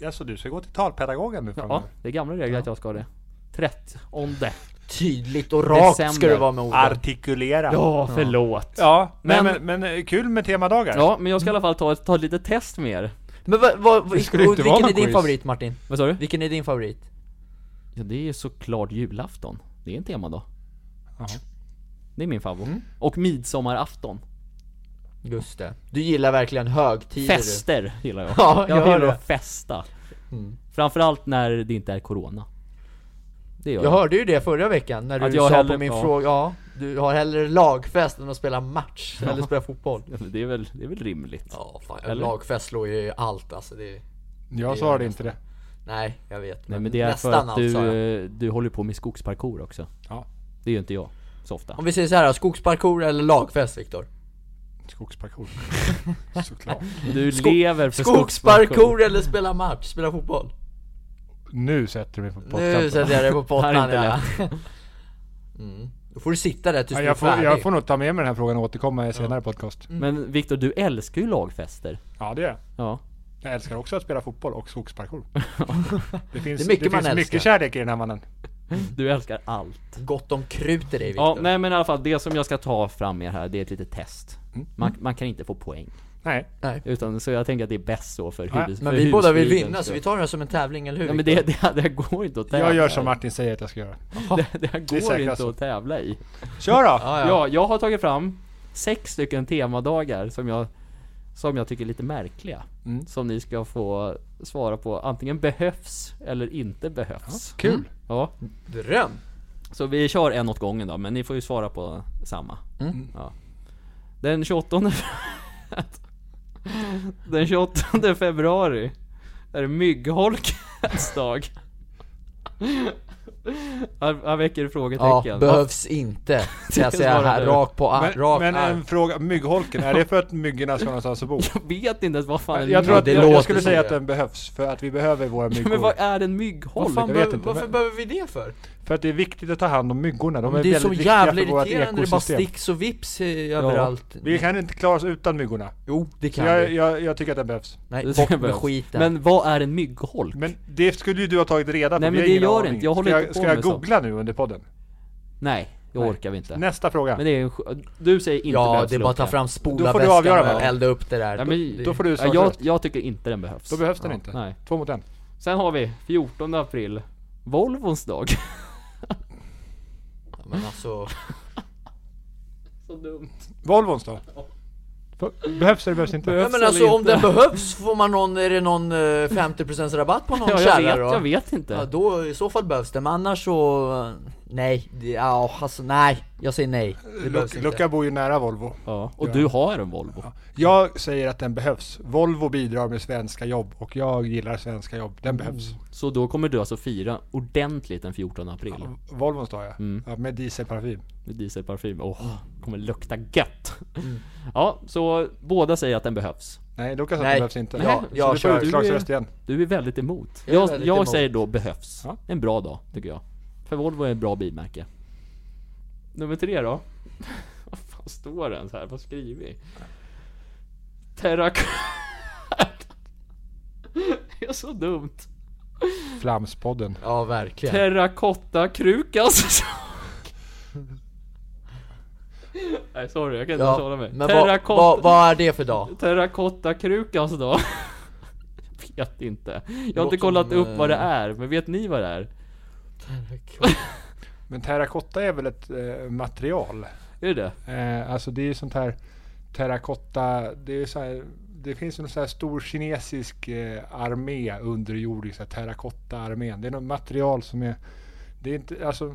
Speaker 1: Jaså, du ska gå till talpedagogen nu
Speaker 2: Ja,
Speaker 1: framöver?
Speaker 2: det är gamla regler att jag ska det. 13!
Speaker 3: tydligt och rakt ska
Speaker 2: December.
Speaker 3: det vara med orden.
Speaker 1: Artikulera!
Speaker 2: Ja, förlåt.
Speaker 1: Ja, men,
Speaker 2: Men-
Speaker 1: men, men eh, kul med temadagar.
Speaker 2: Ja, men jag ska i alla fall ta ett, ta ett litet test med er.
Speaker 3: Men vad, vad, vad,
Speaker 1: Det skulle
Speaker 3: och
Speaker 1: inte
Speaker 3: vilken
Speaker 1: vara
Speaker 3: är
Speaker 1: någon
Speaker 3: din
Speaker 1: quiz.
Speaker 3: favorit Martin?
Speaker 2: Vad sa du?
Speaker 3: Vilken är din favorit?
Speaker 2: Ja, det är ju såklart julafton. Det är en temadag.
Speaker 1: Jaha.
Speaker 2: Det är min favorit. Och midsommarafton.
Speaker 3: Just det. Du gillar verkligen högtider du.
Speaker 2: Fester gillar jag.
Speaker 3: Ja, jag hör
Speaker 2: gillar
Speaker 3: det. Mm.
Speaker 2: att festa. Framförallt när det inte är corona. Det gör
Speaker 3: Jag
Speaker 2: jag.
Speaker 3: hörde ju det förra veckan när du
Speaker 2: Att jag
Speaker 3: sa
Speaker 2: hellre-
Speaker 3: på min
Speaker 2: ja.
Speaker 3: fråga, ja, du har hellre lagfest än att spela match eller spela fotboll.
Speaker 2: Ja, men Det är väl, det är väl rimligt.
Speaker 3: Ja, fan,
Speaker 2: Eller?
Speaker 3: lagfest slår ju allt alltså. Det är,
Speaker 1: Jag svarade inte det.
Speaker 3: nej, jag vet.
Speaker 2: Nej men det är för
Speaker 3: nästan alltså,
Speaker 2: att
Speaker 3: allt
Speaker 2: du,
Speaker 3: sa jag.
Speaker 2: eh, du håller på med skogsparkour också.
Speaker 1: Ja.
Speaker 2: Det är ju inte jag, så ofta.
Speaker 3: Om vi säger så här, då, skogsparkour eller lagfest Viktor?
Speaker 1: Skogsparkour. Såklart.
Speaker 2: Du lever för
Speaker 3: Skogsparkour eller spela match, spela fotboll?
Speaker 1: Nu sätter du mig på pottan.
Speaker 3: Nu sätter jag dig på pottan
Speaker 2: Det här är
Speaker 3: ja. mm. Då får du sitta där tills
Speaker 1: Ja,
Speaker 3: du är
Speaker 1: jag, får,
Speaker 3: färdig.
Speaker 1: jag får nog ta med mig den här frågan och återkomma i en senare podcast.
Speaker 2: Men Viktor, du älskar ju lagfester.
Speaker 1: Ja, det gör jag.
Speaker 2: Ja.
Speaker 1: Jag älskar också att spela fotboll och skogsparkour. Det finns,
Speaker 3: Det
Speaker 1: det
Speaker 3: är mycket
Speaker 1: finns
Speaker 3: man älskar.
Speaker 1: mycket kärlek i den här mannen.
Speaker 2: Du älskar allt.
Speaker 3: Gott om krut i dig Viktor.
Speaker 2: Ja, nej men i alla fall det som jag ska ta fram med här, det är ett litet test.
Speaker 3: Mm.
Speaker 2: Man, man kan inte få poäng.
Speaker 1: Nej,
Speaker 2: Utan, så jag tänker att det är bäst så för
Speaker 1: Ja,
Speaker 2: huvud,
Speaker 3: Men
Speaker 2: för
Speaker 3: vi båda vill
Speaker 2: husfridens
Speaker 3: vinna så
Speaker 2: skull.
Speaker 3: vi tar det här som en tävling, eller hur?
Speaker 2: Ja, men det,
Speaker 3: Viktor?
Speaker 2: det, det här går inte att tävla
Speaker 1: jag gör som
Speaker 2: i.
Speaker 1: Martin säger att jag ska göra.
Speaker 2: Det, det här går
Speaker 1: säkert
Speaker 2: inte
Speaker 1: alltså.
Speaker 2: att tävla i.
Speaker 1: Kör då!
Speaker 3: ja,
Speaker 2: Ja.
Speaker 3: ja.
Speaker 2: jag har tagit fram sex stycken temadagar som jag, som jag tycker är lite märkliga.
Speaker 1: Mm.
Speaker 2: Som ni ska få svara på, antingen behövs eller inte behövs.
Speaker 1: Kul!
Speaker 3: Mm.
Speaker 2: Ja,
Speaker 3: Dröm!
Speaker 2: så vi kör en åt gången då, men ni får ju svara på samma.
Speaker 3: Mm.
Speaker 1: Mm.
Speaker 2: Ja. Den 28 Den 28 februari är det myggholkens dag. Han han väcker
Speaker 3: Ja,
Speaker 2: frågetecken.
Speaker 3: behövs inte. Ska jag säga
Speaker 2: Svara
Speaker 3: här,
Speaker 2: du.
Speaker 3: rakt på ar-
Speaker 1: Men,
Speaker 3: rakt
Speaker 1: men
Speaker 3: arm.
Speaker 1: en fråga, myggholken, är det för att myggorna ska någonstans att bo?
Speaker 2: Jag vet inte ens vad fan en
Speaker 1: Jag tror
Speaker 2: mygg-
Speaker 1: att,
Speaker 3: det
Speaker 1: jag, jag
Speaker 3: låter
Speaker 1: skulle
Speaker 3: som
Speaker 1: säga
Speaker 3: det.
Speaker 1: att den behövs, för att vi behöver våra myggor.
Speaker 2: Men vad är en myggholk?
Speaker 1: Vad fan- jag vet inte,
Speaker 3: varför
Speaker 1: men-
Speaker 3: behöver vi det för?
Speaker 1: För att det är viktigt att ta hand om myggorna, de är,
Speaker 3: det är
Speaker 1: väldigt
Speaker 3: så
Speaker 1: viktiga
Speaker 3: jävla
Speaker 1: för vårt
Speaker 3: irriterande när det bara
Speaker 1: ekosystem.
Speaker 3: sticks och vips eh, överallt.
Speaker 1: Vi kan inte klara oss utan myggorna.
Speaker 3: Jo, det
Speaker 1: Så
Speaker 3: kan
Speaker 1: jag,
Speaker 3: vi.
Speaker 1: jag, jag tycker att den behövs.
Speaker 3: Nej,
Speaker 2: Det
Speaker 3: bort med
Speaker 2: behövs.
Speaker 3: skiten.
Speaker 2: Men vad är en myggholk?
Speaker 1: Men det skulle ju du ha tagit reda på,
Speaker 2: Nej,
Speaker 1: vi
Speaker 2: men
Speaker 1: har
Speaker 2: det
Speaker 1: ingen
Speaker 2: gör
Speaker 1: aning.
Speaker 2: inte. Jag håller
Speaker 1: ska
Speaker 2: inte på
Speaker 1: jag, Ska jag
Speaker 2: med sånt.
Speaker 1: googla nu under podden?
Speaker 2: Nej, jag
Speaker 1: Nej.
Speaker 2: orkar vi inte.
Speaker 1: Nästa fråga.
Speaker 2: Men det är en, sj- du säger inte
Speaker 3: ja,
Speaker 2: behövs
Speaker 3: det är bara att ta
Speaker 2: Loke.
Speaker 3: fram
Speaker 1: Då får du
Speaker 3: spolarväskan
Speaker 1: avgöra,
Speaker 3: och
Speaker 1: va?
Speaker 3: elda upp det där.
Speaker 2: Ja, men,
Speaker 1: Då får du
Speaker 2: ja,
Speaker 1: svara
Speaker 2: jag,
Speaker 1: rätt.
Speaker 2: jag tycker inte den behövs.
Speaker 1: Då behövs den inte.
Speaker 2: Nej.
Speaker 1: Två mot en.
Speaker 2: Sen har vi 14 april, Volvons dag.
Speaker 3: Men alltså,
Speaker 2: Så dumt.
Speaker 1: Volvons då? Behövs det eller behövs inte?
Speaker 3: ja,
Speaker 2: Behövs
Speaker 3: men
Speaker 2: eller
Speaker 3: alltså om
Speaker 2: inte?
Speaker 3: den behövs, får man någon, är det någon eh, 50% rabatt på någon
Speaker 2: Ja, jag,
Speaker 3: kärra
Speaker 2: vet,
Speaker 3: då?
Speaker 2: jag vet inte.
Speaker 3: Ja, då i så fall behövs det, men annars så... eh, Nej, det, ja alltså nej, jag säger nej. Det behövs
Speaker 1: Luca,
Speaker 3: inte.
Speaker 1: Luca bor ju nära Volvo.
Speaker 2: Ja, och du har en Volvo.
Speaker 1: Jag säger att den behövs. Volvo bidrar med svenska jobb och jag gillar svenska jobb. Den behövs.
Speaker 2: Så då kommer du alltså fira ordentligt den 14 april.
Speaker 1: Volvons då ja. ja med dieselparfym.
Speaker 2: Med dieselparfym. Åh, kommer lukta gött. Ja, så båda säger att den behövs.
Speaker 1: Nej, Luca sa att
Speaker 3: Nej.
Speaker 1: den behövs inte.
Speaker 3: Nej,
Speaker 1: Ja,
Speaker 3: jag
Speaker 1: så du får
Speaker 3: kör. Mm.
Speaker 1: utslagsröst igen.
Speaker 2: Du är väldigt emot.
Speaker 3: Jag är
Speaker 2: Jag,
Speaker 3: väldigt
Speaker 2: jag
Speaker 3: emot.
Speaker 2: säger då behövs.
Speaker 1: Ja.
Speaker 2: En bra dag, tycker jag. För Volvo är ett bra bilmärke. Nummer tre då? Vad fan står den så här? Vad skriver vi? Terracotta. Det är så dumt.
Speaker 1: Flamspodden.
Speaker 3: Ja, verkligen.
Speaker 2: Terrakotta krukas. Nej sorry, jag kan inte ens hålla
Speaker 3: ja,
Speaker 2: mig.
Speaker 3: men vad,
Speaker 2: Terrakotta.
Speaker 3: vad, vad är det för dag?
Speaker 2: Terrakottakrukas då? Jag vet inte. Jag har
Speaker 3: låter
Speaker 2: inte kollat
Speaker 3: som,
Speaker 2: upp vad det
Speaker 3: eh,
Speaker 2: är, men vet ni vad det är?
Speaker 1: Men terrakotta är väl ett eh, material?
Speaker 2: Är det det?
Speaker 1: Eh, alltså det är ju sånt här terrakotta. Det, är så här, det finns ju en sån här stor kinesisk eh, armé underjordisk. så här Terrakotta-armén. Det är något material som är... Det är inte, alltså,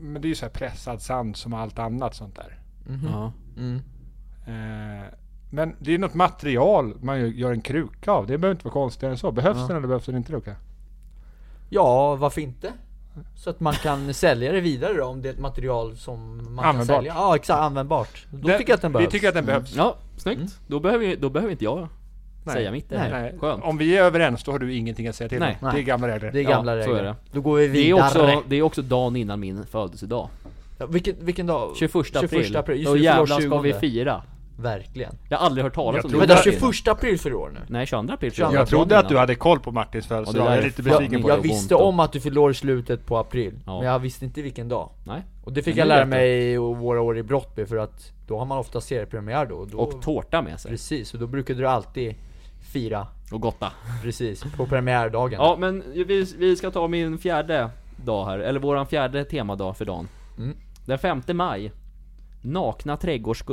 Speaker 1: men det är ju så här pressad sand som allt annat sånt där.
Speaker 2: Ja.
Speaker 3: Mm.
Speaker 1: Eh, men det är något material man ju gör en kruka av. Det behöver inte vara konstigare än så. Behövs den eller behövs den inte Luka?
Speaker 3: Ja, varför inte? Så att man kan sälja det vidare då, om det är ett material som man
Speaker 1: Användbart.
Speaker 3: kan sälja. Ja, exakt, användbart. Då
Speaker 1: Den-
Speaker 3: tycker jag att den behövs. Mm.
Speaker 1: Vi tycker att den behövs.
Speaker 2: Ja, snyggt. Då, behöver, då behöver inte jag
Speaker 1: Nej.
Speaker 2: säga mitt
Speaker 3: Nej.
Speaker 2: heller. Skönt.
Speaker 1: Om vi är överens då har du ingenting att säga till
Speaker 2: Nej.
Speaker 1: om. Det är
Speaker 3: Nej.
Speaker 1: gamla regler.
Speaker 3: Det är
Speaker 2: Ja,
Speaker 3: gamla
Speaker 2: så är
Speaker 3: regler.
Speaker 2: det.
Speaker 3: Då går vi
Speaker 2: Det är,
Speaker 3: vidare.
Speaker 2: också, det är också dagen innan min födelsedag.
Speaker 3: Ja, vilken, vilken dag?
Speaker 2: 21 april.
Speaker 3: 21 april. Just
Speaker 2: Då
Speaker 3: det, vi fyller
Speaker 2: jävlar ska
Speaker 3: 20.
Speaker 2: vi fira.
Speaker 3: Verkligen.
Speaker 2: Jag har aldrig hört talas
Speaker 1: Jag
Speaker 2: om
Speaker 1: tror-
Speaker 2: det.
Speaker 3: Vänta, 21 april för i år nu?
Speaker 2: Nej, 22 april.
Speaker 3: Jag
Speaker 1: Jag
Speaker 2: Dagen
Speaker 1: trodde att du
Speaker 2: innan.
Speaker 1: hade koll på Martins födelsedag.
Speaker 2: Och det där
Speaker 1: Jag är
Speaker 2: är
Speaker 1: lite
Speaker 2: fan
Speaker 1: besviken
Speaker 2: min
Speaker 1: på
Speaker 3: Jag
Speaker 1: dig.
Speaker 2: jobb.
Speaker 3: visste om att du fyllde år i slutet på april,
Speaker 2: Ja.
Speaker 3: men jag visste inte vilken dag.
Speaker 2: Nej.
Speaker 3: Och det fick
Speaker 2: Men
Speaker 3: jag
Speaker 2: nu
Speaker 3: lära
Speaker 2: vet du.
Speaker 3: mig i våra år i Brottby för att då har man ofta seriepremiär då. Och, då
Speaker 2: Och tårta med sig.
Speaker 3: Precis, och då brukade du alltid fira
Speaker 2: Och gotta.
Speaker 3: precis på premiärdagen.
Speaker 2: Ja, men vi, vi ska ta min fjärde dag här, eller våran fjärde temadag för dagen.
Speaker 3: Mm.
Speaker 2: Den 5 maj. Nakna, trädgårds,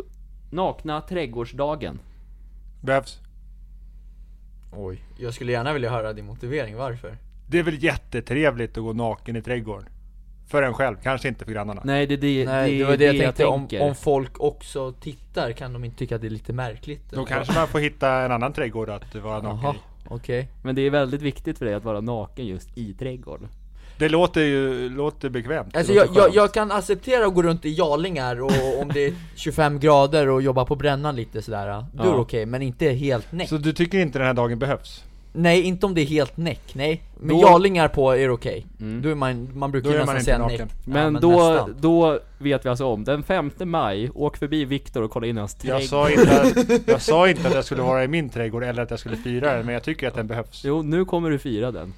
Speaker 2: nakna trädgårdsdagen.
Speaker 1: Behövs.
Speaker 3: Oj. Jag skulle gärna vilja höra din motivering, varför?
Speaker 1: Det är väl jättetrevligt att gå naken i trädgården? För en själv, kanske inte för grannarna.
Speaker 2: Nej, det, det,
Speaker 3: Nej, det,
Speaker 2: det
Speaker 3: var
Speaker 2: är
Speaker 3: det jag
Speaker 2: det
Speaker 3: tänkte, om,
Speaker 2: tänker.
Speaker 3: om folk också tittar kan de inte tycka att det är lite märkligt?
Speaker 1: Då kanske man får hitta en annan trädgård att vara naken
Speaker 3: Jaha,
Speaker 1: i.
Speaker 3: okej.
Speaker 2: Men det är väldigt viktigt för dig att vara naken just i trädgården.
Speaker 1: Det låter ju låter bekvämt. Det
Speaker 3: Alltså
Speaker 1: låter
Speaker 3: jag, jag,
Speaker 1: skönt.
Speaker 3: jag kan acceptera att gå runt i jalingar och om det är 25 grader och jobba på brännan lite sådär, då är
Speaker 2: Ja.
Speaker 3: det okej, men inte helt näck
Speaker 1: Så du tycker inte den här dagen behövs?
Speaker 3: Nej, inte om det är helt näck, nej. Men
Speaker 2: Då- Mm.
Speaker 3: jalingar på är det okej. Då är man, man brukar
Speaker 1: Då
Speaker 3: ju
Speaker 1: är man
Speaker 3: nästan
Speaker 1: inte
Speaker 3: säga
Speaker 1: naken.
Speaker 3: näck.
Speaker 2: Men,
Speaker 3: ja,
Speaker 2: då,
Speaker 3: nästan.
Speaker 2: då vet vi alltså om. Den 5 maj, åk förbi Viktor och kolla in hans trädgård.
Speaker 1: Jag sa, inte, jag sa inte att jag skulle vara i min trädgård eller att jag skulle fira den, men jag tycker att den behövs.
Speaker 2: Jo, nu kommer du fira den.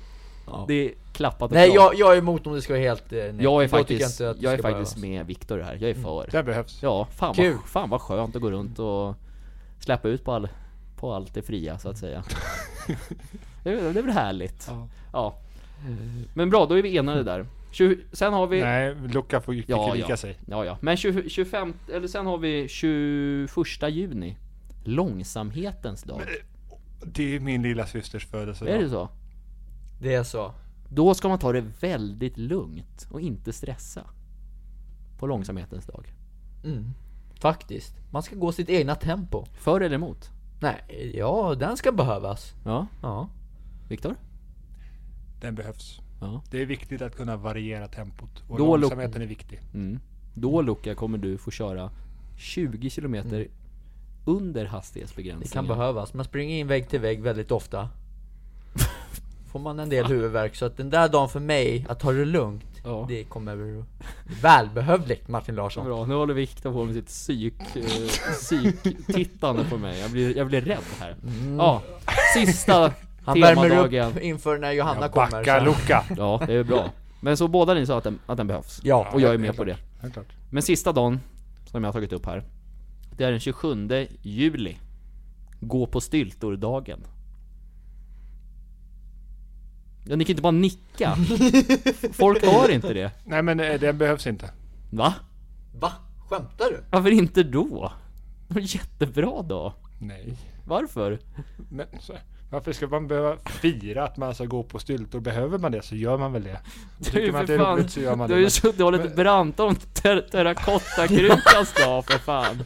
Speaker 3: Ja.
Speaker 2: Det är klappat och
Speaker 3: Nej
Speaker 2: klart.
Speaker 3: jag, jag är emot om det ska vara helt eh, näck.
Speaker 2: jag är
Speaker 3: Då tycker
Speaker 2: faktiskt, jag
Speaker 3: att det
Speaker 2: är
Speaker 3: ska
Speaker 2: faktiskt
Speaker 3: behövas. Mm.
Speaker 2: med Viktor här. Jag är för.
Speaker 1: Den behövs.
Speaker 2: Ja, fan
Speaker 3: Kul.
Speaker 2: vad, fan vad skönt att gå runt och släppa ut på, all, på allt det fria så att säga. det, är, det är väl härligt. Ja. Men bra, då är vi enade där. Tju- sen har vi...
Speaker 1: Nej, Luca får ju
Speaker 2: ja,
Speaker 1: vika
Speaker 2: ja.
Speaker 1: sig.
Speaker 2: Ja, ja. Men 20, 25... Eller sen har vi 21 juni. Långsamhetens dag.
Speaker 1: Det är min lilla systers
Speaker 2: Är
Speaker 1: födelsedag.
Speaker 2: det så?
Speaker 3: Det är så.
Speaker 2: Då ska man ta det väldigt lugnt och inte stressa. På långsamhetens dag.
Speaker 3: Mm. Faktiskt. Man ska gå sitt egna tempo.
Speaker 2: För eller emot?
Speaker 3: Nej, ja den ska behövas.
Speaker 2: Ja,
Speaker 3: Ja.
Speaker 2: Viktor?
Speaker 1: Den behövs.
Speaker 2: Ja.
Speaker 1: Det är viktigt att kunna variera tempot. Och
Speaker 2: Då Lu-
Speaker 1: långsamheten är viktig.
Speaker 2: Mm. Då Luca kommer du få köra 20 km under hastighetsbegränsningen.
Speaker 3: Det kan behövas. Man springer in vägg till vägg väldigt ofta. Får man en del huvudvärk. Så att den där dagen för mig, att ta det lugnt,
Speaker 2: Ja.
Speaker 3: det kommer välbehövligt Martin Larsson.
Speaker 2: Bra, nu håller Viktor på med sitt psyk, eh, psyk-tittande på mig. Jag blir, jag blir rädd här. Ja, sista
Speaker 3: Han värmer
Speaker 2: temadagen.
Speaker 3: upp inför när Johanna
Speaker 1: Jag
Speaker 3: kommer.
Speaker 1: backar
Speaker 3: Så.
Speaker 1: Luca.
Speaker 2: Ja, det är bra. Men så båda ni sa att den, att den behövs.
Speaker 3: Ja.
Speaker 2: Och jag är
Speaker 1: helt
Speaker 2: med på det.
Speaker 1: Helt klart.
Speaker 2: Men sista dagen, som jag har tagit upp här. Det är den 27 juli. Gå på styltor-dagen. Ja, ni kan inte bara nicka. Folk hör inte det.
Speaker 1: Nej men eh, den behövs inte.
Speaker 2: Va?
Speaker 3: Va? Skämtar du?
Speaker 2: Varför inte då? Det var en jättebra dag.
Speaker 1: Nej.
Speaker 2: Varför?
Speaker 1: Men så, varför ska man behöva fira att man ska gå på styltor? Behöver man det så gör man väl det. Tycker man att det är roligt så gör man det.
Speaker 2: du har ju
Speaker 1: Men
Speaker 2: suttit och hållit branta om ter- terrakottakrukas dag för fan.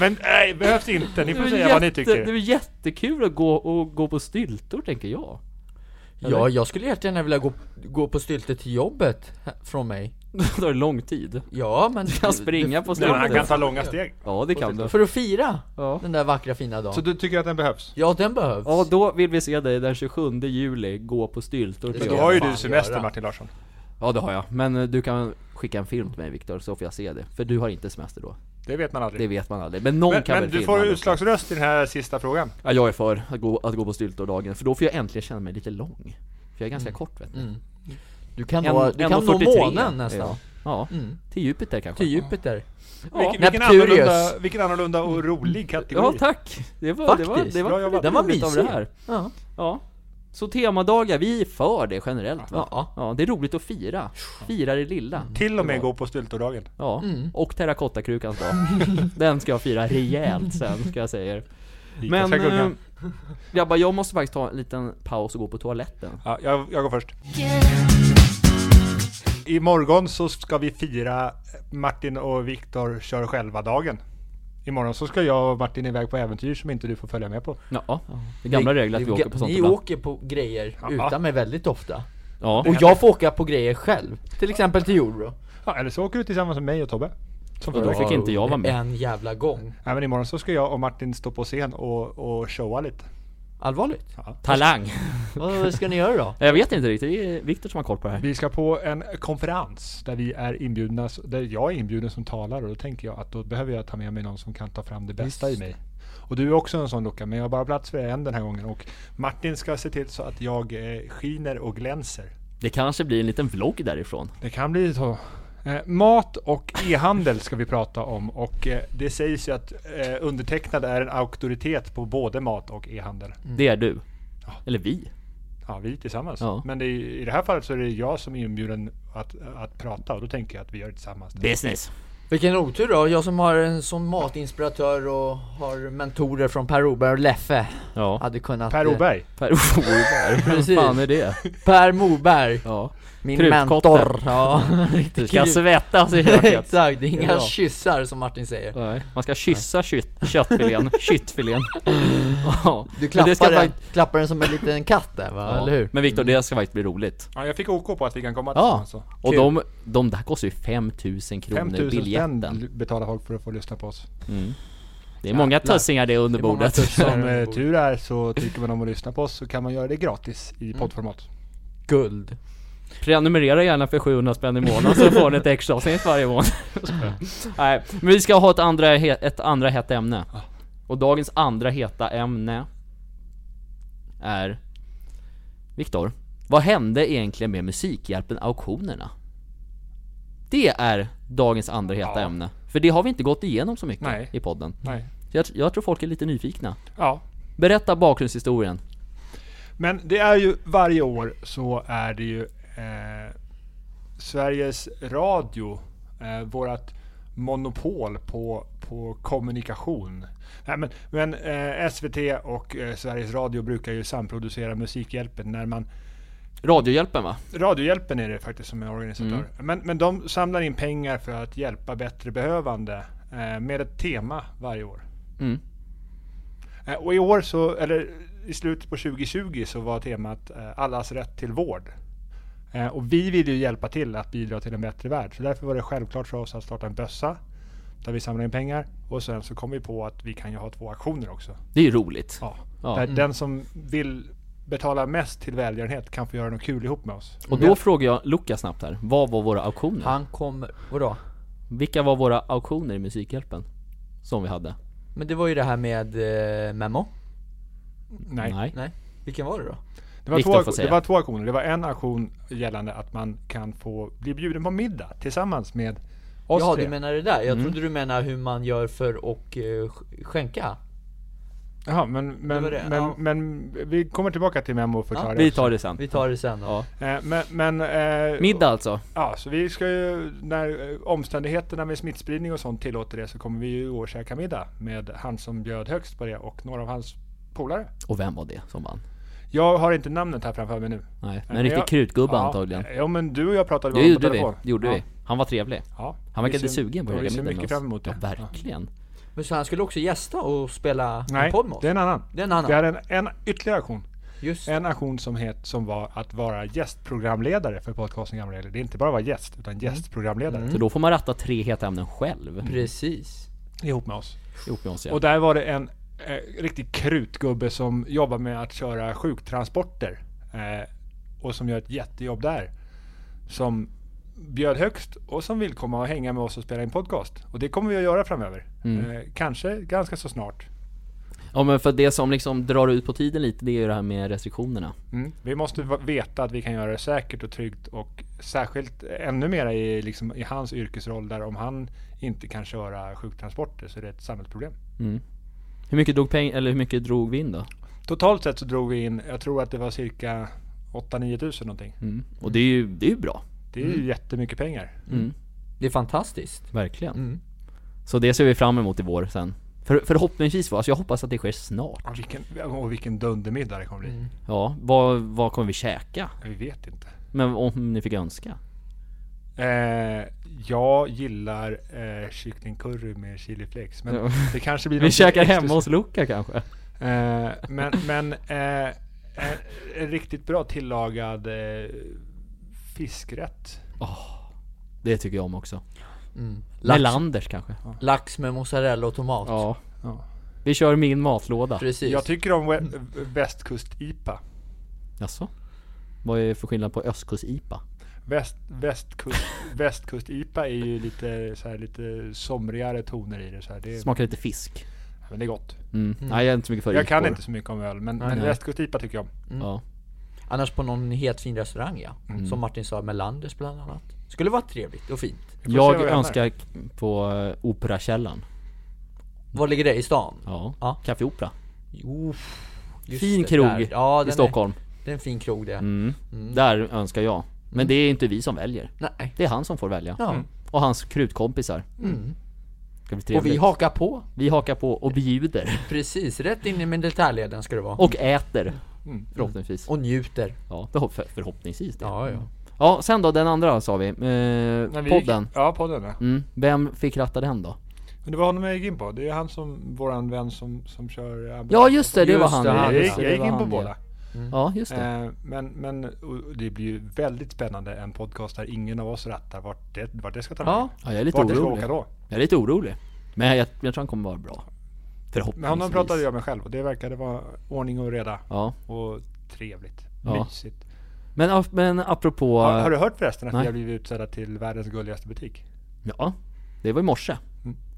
Speaker 1: men nej, behövs inte. Ni
Speaker 2: Det
Speaker 1: får
Speaker 2: är
Speaker 1: säga vad ni
Speaker 2: jätte-
Speaker 1: tycker.
Speaker 2: det är jättekul att gå, och gå på styltor tänker jag.
Speaker 3: Ja, jag skulle jättegärna vilja gå, gå på stylte till jobbet hä- från mig.
Speaker 2: Då är det lång tid.
Speaker 3: Ja, men...
Speaker 2: Kan springa på
Speaker 1: Nej, men han kan
Speaker 2: styltor.
Speaker 1: ta långa steg.
Speaker 2: Ja det kan du.
Speaker 3: För att fira
Speaker 2: Ja.
Speaker 3: den där vackra fina dagen.
Speaker 1: Så du tycker att den behövs?
Speaker 3: Ja, den behövs.
Speaker 2: Ja då vill vi se dig den 27 juli gå på styltor.
Speaker 1: Men
Speaker 3: Det
Speaker 2: till
Speaker 1: då
Speaker 3: ska
Speaker 2: jobbet.
Speaker 1: har ju
Speaker 3: fan
Speaker 1: du semester
Speaker 3: göra.
Speaker 1: Martin Larsson.
Speaker 2: Ja det har jag, men eh, du kan skicka en film till mig Viktor så får jag se det. För du har inte semester då.
Speaker 1: Det vet man aldrig.
Speaker 2: Det vet man aldrig. Men någon
Speaker 1: men
Speaker 2: kan
Speaker 1: men
Speaker 2: väl
Speaker 1: du
Speaker 2: filma
Speaker 1: får
Speaker 2: det.
Speaker 1: utslagsröst i den här sista frågan.
Speaker 2: Ja, jag är för att gå, att gå på styltordagen, för då får jag äntligen känna mig lite lång. För jag är ganska kort vet du.
Speaker 3: Mm. Du kan,
Speaker 2: En-
Speaker 3: nå, du kan nå
Speaker 2: 1,43
Speaker 3: månen nästan.
Speaker 2: Ja. ja,
Speaker 3: Mm.
Speaker 2: till Jupiter kanske.
Speaker 3: Till Jupiter.
Speaker 2: Ja.
Speaker 1: Vilken, vilken,
Speaker 3: Neptunius.
Speaker 1: annorlunda, vilken annorlunda och rolig kategori.
Speaker 2: ja, tack! Det var, det var,
Speaker 3: Faktiskt,
Speaker 2: det
Speaker 1: bra
Speaker 2: var,
Speaker 1: jobbat.
Speaker 2: den var mysig.
Speaker 3: mysig.
Speaker 2: Av det här.
Speaker 3: Ja.
Speaker 2: Ja. Så temadagar, vi är för det generellt va?
Speaker 3: Ja.
Speaker 2: Ja, det är roligt att fira. Fira det lilla.
Speaker 1: Till och med
Speaker 2: Ja.
Speaker 1: gå på styltordagen.
Speaker 2: Ja,
Speaker 3: Mm.
Speaker 2: och terrakottakrukans dag. Den ska jag fira rejält sen, ska jag säga er.
Speaker 1: Lika
Speaker 2: Men,
Speaker 1: ska gunga.
Speaker 2: eh, grabbar, jag måste faktiskt ta en liten paus och gå på toaletten.
Speaker 1: ja, jag, jag går först.
Speaker 4: Yeah.
Speaker 1: Imorgon så ska vi fira eh, Martin och Viktor kör själva-dagen. Imorgon så ska jag och Martin iväg på äventyr som inte du får följa med på.
Speaker 2: Ja, det är gamla regler att vi
Speaker 3: Ni-
Speaker 2: åker på sånt
Speaker 3: Ni
Speaker 2: ibland.
Speaker 3: åker på grejer
Speaker 1: Ja.
Speaker 3: utan mig väldigt ofta.
Speaker 2: Ja.
Speaker 3: Och jag får åka på grejer själv. Till exempel till Euro.
Speaker 1: Ja, eller så åker du tillsammans med mig och Tobbe. Som
Speaker 2: Och
Speaker 1: förra
Speaker 2: då
Speaker 1: veckan.
Speaker 2: fick inte jag vara med.
Speaker 3: En jävla gång.
Speaker 1: Nej men imorgon så ska jag och Martin stå på scen och, och showa lite.
Speaker 3: Allvarligt?
Speaker 2: Talang!
Speaker 3: Vad ska ni göra då?
Speaker 2: Jag vet inte riktigt, det är Viktor som har koll på det här.
Speaker 1: Vi ska på en konferens där vi är inbjudna, s- där jag är inbjuden som talare och då tänker jag att då behöver jag ta med mig någon som kan ta fram det bästa i mig. Och du är också en sån Luca, men jag har bara plats för en den här gången och Martin ska se till så att jag eh, skiner och glänser.
Speaker 2: Det kanske blir en liten vlogg därifrån.
Speaker 1: Det kan bli så. Eh, mat och e-handel ska vi prata om och eh, det sägs ju att eh, undertecknad är en auktoritet på både mat och e-handel.
Speaker 2: Det är du. Eller vi.
Speaker 1: Ja, vi tillsammans.
Speaker 2: Ja.
Speaker 1: Men det är, i det här fallet så är det jag som är inbjuden att, att prata och då tänker jag att vi gör det tillsammans.
Speaker 2: Business.
Speaker 3: Vilken otur då, jag som har en sån matinspiratör och har mentorer från Per Oberg och Leffe
Speaker 2: Ja.
Speaker 3: Hade kunnat...
Speaker 1: Per Oberg,
Speaker 2: Per Oberg. Hur
Speaker 3: Precis.
Speaker 2: fan är det?
Speaker 3: Per Moberg!
Speaker 2: Ja.
Speaker 3: Min
Speaker 2: Krutkotte.
Speaker 3: mentor! Ja,
Speaker 2: Du
Speaker 3: riktigt
Speaker 2: ska
Speaker 3: kul.
Speaker 2: svettas i köket.
Speaker 3: Exakt, det är
Speaker 2: Det är
Speaker 3: inga
Speaker 2: bra.
Speaker 3: kyssar som Martin säger
Speaker 2: Nej, man ska kyssa kött, köttfilén, kyttfilén. Ja.
Speaker 3: Du
Speaker 2: Men det ska
Speaker 3: klappar, den,
Speaker 2: fakt-
Speaker 3: klappar den som en liten katt där va,
Speaker 2: Ja.
Speaker 3: eller hur?
Speaker 2: Men Viktor, det ska faktiskt bli roligt.
Speaker 1: ja, jag fick OK på att vi kan komma alltså.
Speaker 2: Ja,
Speaker 1: tillsammans. Ja.
Speaker 2: och
Speaker 3: Kul.
Speaker 2: de, de där kostar ju 5000 kronor
Speaker 1: 5000
Speaker 2: biljetten.
Speaker 1: spänn betalar folk för att få lyssna på oss.
Speaker 2: Det är många tussingar det under
Speaker 3: Det är många
Speaker 2: bordet.
Speaker 3: tuss-
Speaker 1: Som
Speaker 3: Där
Speaker 1: eh,
Speaker 3: är det.
Speaker 1: tur är så tycker man om att lyssna på oss så kan man göra det gratis
Speaker 2: Mm.
Speaker 1: i poddformat.
Speaker 3: Guld!
Speaker 2: Prenumerera gärna för 700 spänn i månaden så får ni ett extra avsnitt varje månad. Nej, men vi ska ha ett andra, he- ett andra hett ämne. Och dagens andra heta ämne är... Viktor, vad hände egentligen med Musikhjälpen-auktionerna? Det är dagens andra heta
Speaker 1: Ja.
Speaker 2: ämne. För det har vi inte gått igenom så mycket
Speaker 1: Nej.
Speaker 2: i podden.
Speaker 1: Nej.
Speaker 2: Så Jag, tr- jag tror folk är lite nyfikna.
Speaker 1: Ja.
Speaker 2: Berätta bakgrundshistorien.
Speaker 1: Men det är ju varje år så är det ju eh, Sveriges Radio, eh, vårat monopol på, på kommunikation. Nej, men men eh, SVT och eh, Sveriges Radio brukar ju samproducera Musikhjälpen när man
Speaker 2: Radiohjälpen va?
Speaker 1: Radiohjälpen är det faktiskt som är organisatör.
Speaker 2: Mm.
Speaker 1: Men, men de samlar in pengar för att hjälpa bättre behövande eh, med ett tema varje år.
Speaker 2: Mm.
Speaker 1: Eh, och i år så, eller i slutet på 2020 så var temat eh, allas rätt till vård. Eh, och vi vill ju hjälpa till att bidra till en bättre värld. Så därför var det självklart för oss att starta en bössa där vi samlar in pengar. Och sen så kom vi på att vi kan ju ha två auktioner också.
Speaker 2: Det är ju roligt.
Speaker 1: Ja.
Speaker 2: Ja. Mm.
Speaker 1: Där den som vill betala mest till välgörenhet kan få göra något kul ihop med oss.
Speaker 2: Och då frågar jag Luca snabbt här, vad var våra auktioner?
Speaker 3: Han kommer... Vadå?
Speaker 2: Vilka var våra auktioner i Musikhjälpen? Som vi hade?
Speaker 3: Men det var ju det här med eh, Memo?
Speaker 1: Nej.
Speaker 3: Nej? Vilken var det då?
Speaker 1: Det var,
Speaker 2: Viktor
Speaker 1: två,
Speaker 2: får
Speaker 1: auktion-
Speaker 2: säga.
Speaker 1: det var två auktioner. Det var en auktion gällande att man kan få bli bjuden på middag tillsammans med oss
Speaker 3: Ja
Speaker 1: tre.
Speaker 3: du menar det där? Jag
Speaker 2: Mm.
Speaker 3: trodde du menar hur man gör för att eh, sk- skänka?
Speaker 1: Jaha, men, men,
Speaker 3: Det var det,
Speaker 1: men,
Speaker 3: ja.
Speaker 1: men vi kommer tillbaka till Memo och förklarar
Speaker 2: Vi tar det sen.
Speaker 3: Vi tar det sen då.
Speaker 2: Ja.
Speaker 1: Eh, Men, men, eh,
Speaker 2: Middag alltså?
Speaker 1: Ja, så vi ska ju, när eh, omständigheterna med smittspridning och sånt tillåter det så kommer vi ju gå och käka middag med han som bjöd högst på det och några av hans polare.
Speaker 2: Och vem var det som vann?
Speaker 1: Jag har inte namnet här framför mig nu.
Speaker 2: Nej, men
Speaker 1: Men
Speaker 2: en riktig
Speaker 1: jag-
Speaker 2: krutgubbe
Speaker 1: Ja,
Speaker 2: antagligen.
Speaker 1: Ja, men du och jag pratade
Speaker 2: Det
Speaker 1: om på
Speaker 2: gjorde vi,
Speaker 1: telefon.
Speaker 2: det gjorde
Speaker 1: ja.
Speaker 2: vi. Han var trevlig.
Speaker 1: Ja.
Speaker 2: Han
Speaker 1: Vi
Speaker 2: verkade
Speaker 1: ser-
Speaker 2: sugen på att
Speaker 1: ja, Vi
Speaker 2: käka
Speaker 1: ser
Speaker 2: middag
Speaker 1: mycket fram
Speaker 2: med oss.
Speaker 1: emot det.
Speaker 2: Ja, verkligen.
Speaker 3: Men så han skulle också gästa och spela
Speaker 1: Nej,
Speaker 3: en podd med oss?
Speaker 1: det är en annan.
Speaker 3: Det är en annan.
Speaker 1: Vi hade en, en ytterligare aktion.
Speaker 3: Just
Speaker 1: En aktion som, het, som var att vara gästprogramledare för podcasten Gamla Regler. Det är inte bara att vara gäst, utan
Speaker 3: Mm.
Speaker 1: gästprogramledare.
Speaker 2: Så då får man ratta tre heta ämnen själv.
Speaker 3: Precis.
Speaker 1: Ihop med oss.
Speaker 2: Ihop med oss
Speaker 1: Och
Speaker 2: ja.
Speaker 1: där var det en eh, riktig krutgubbe som jobbar med att köra sjuktransporter. Eh, och som gör ett jättejobb där. som bjöd högst och som vill komma och hänga med oss och spela in podcast. Och det kommer vi att göra framöver.
Speaker 2: Mm.
Speaker 1: Eh, kanske ganska så snart.
Speaker 2: Ja men för det som liksom drar ut på tiden lite, det är ju det här med restriktionerna.
Speaker 1: Mm. Vi måste va- veta att vi kan göra det säkert och tryggt och särskilt ännu mer i, liksom, i hans yrkesroll där om han inte kan köra sjuktransporter så är det ett samhällsproblem.
Speaker 2: Mm. Hur mycket drog peng, eller hur mycket drog vi in då?
Speaker 1: Totalt sett så drog vi in, jag tror att det var cirka 8-9 tusen någonting.
Speaker 2: Mm. Och det är ju, det är ju bra.
Speaker 1: Det är ju jättemycket pengar.
Speaker 2: Mm.
Speaker 3: Det är fantastiskt.
Speaker 2: Verkligen.
Speaker 3: Mm.
Speaker 2: Så det ser vi fram emot i vår sen. För, förhoppningsvis va, alltså jag hoppas att det sker snart.
Speaker 1: Och vilken, och vilken dundermiddag det kommer bli.
Speaker 2: Ja, vad, vad kommer vi käka?
Speaker 1: Vi vet inte.
Speaker 2: Men om ni fick önska?
Speaker 1: Eh, jag gillar eh, kycklingcurry med chiliflex. Men
Speaker 2: Ja.
Speaker 1: det kanske blir
Speaker 2: Vi
Speaker 1: något
Speaker 2: käkar
Speaker 1: extra-
Speaker 2: hemma hos Luca kanske?
Speaker 1: Eh, men men eh, en, en riktigt bra tillagad eh, fiskrätt.
Speaker 2: Det tycker jag om också.
Speaker 3: Mm. Lax,
Speaker 2: Melanders kanske?
Speaker 3: lax med mozzarella och tomat.
Speaker 2: Ja.
Speaker 1: Ja.
Speaker 2: Vi kör min matlåda.
Speaker 3: Precis.
Speaker 1: Jag tycker om
Speaker 2: Mm.
Speaker 1: we- västkust-IPA.
Speaker 2: Jaså? Vad är det för skillnad på östkust-IPA?
Speaker 1: Väst, västkust, västkust-IPA är ju lite, så här, lite somrigare toner i det. Så här. det är,
Speaker 2: Smakar lite fisk.
Speaker 1: men det är gott.
Speaker 2: Mm. Nej jag är inte så mycket för
Speaker 1: Jag kan
Speaker 2: IPor.
Speaker 1: inte Mm. så mycket om öl, men, men
Speaker 2: nej.
Speaker 1: västkust-IPA tycker jag om.
Speaker 2: Ja.
Speaker 3: Annars på någon helt fin restaurang ja.
Speaker 2: Mm.
Speaker 3: Som Martin sa, Melanders bland annat. Skulle vara trevligt och fint.
Speaker 1: Vi får se
Speaker 2: Jag
Speaker 1: vad vi hamnar.
Speaker 2: önskar k- på eh, Operakällaren.
Speaker 3: Var ligger det? I stan?
Speaker 2: Ja.
Speaker 3: Ja.
Speaker 2: Café Opera.
Speaker 3: Jo, just
Speaker 2: Fin
Speaker 3: det
Speaker 2: krog
Speaker 3: där. ja,
Speaker 2: i
Speaker 3: den
Speaker 2: Stockholm.
Speaker 3: Är, det är en fin krog det.
Speaker 2: Mm. Där önskar jag. Men det är inte vi som väljer.
Speaker 3: Nej.
Speaker 2: Det är han som får välja.
Speaker 3: Mm. Ja. Mm.
Speaker 2: Och hans krutkompisar. Ska bli
Speaker 3: Och
Speaker 2: trevligt.
Speaker 3: vi Mm. hakar på.
Speaker 2: vi hakar på och bjuder.
Speaker 3: Precis, rätt in i med detaljleden ska det vara.
Speaker 2: Och äter. Förhoppningsvis.
Speaker 3: Mm. Och njuter.
Speaker 2: Ja, förhopp- för- förhoppningsvis det.
Speaker 3: Ja, ja.
Speaker 2: Ja, sen då den andra sa vi. Eh,
Speaker 1: När vi gick-
Speaker 2: podden.
Speaker 1: Ja, podden ja.
Speaker 2: Mm. Vem fick ratta den då?
Speaker 1: Men det var honom jag gick in på. Det är han som, våran vän som, som kör ambulans.
Speaker 2: Ja just det, det
Speaker 3: Just
Speaker 2: var
Speaker 3: det,
Speaker 2: han.
Speaker 3: han,
Speaker 2: ja,
Speaker 1: jag,
Speaker 2: just
Speaker 1: gick,
Speaker 2: det,
Speaker 1: jag
Speaker 2: det
Speaker 1: gick
Speaker 2: var
Speaker 1: in på
Speaker 2: han,
Speaker 1: båda.
Speaker 2: Ja just det.
Speaker 1: Eh, Men, men och det blir ju väldigt spännande en podcast där ingen av oss rattar vart det, vart det ska ta
Speaker 3: Ja.
Speaker 1: vägen.
Speaker 2: Ja, jag är lite
Speaker 1: Vart det ska
Speaker 2: orolig.
Speaker 1: åka då.
Speaker 2: Jag är lite orolig. Men jag, jag tror han kommer vara bra. Förhoppningsvis.
Speaker 1: Med honom pratade jag med själv och det verkade vara ordning och reda
Speaker 2: Ja.
Speaker 1: och trevligt.
Speaker 2: Ja.
Speaker 1: Mysigt.
Speaker 2: Men, ap- men apropå...
Speaker 1: Har, har du hört förresten att
Speaker 2: nej.
Speaker 1: vi har blivit utsedda till världens gulligaste butik?
Speaker 2: Ja, det var i morse.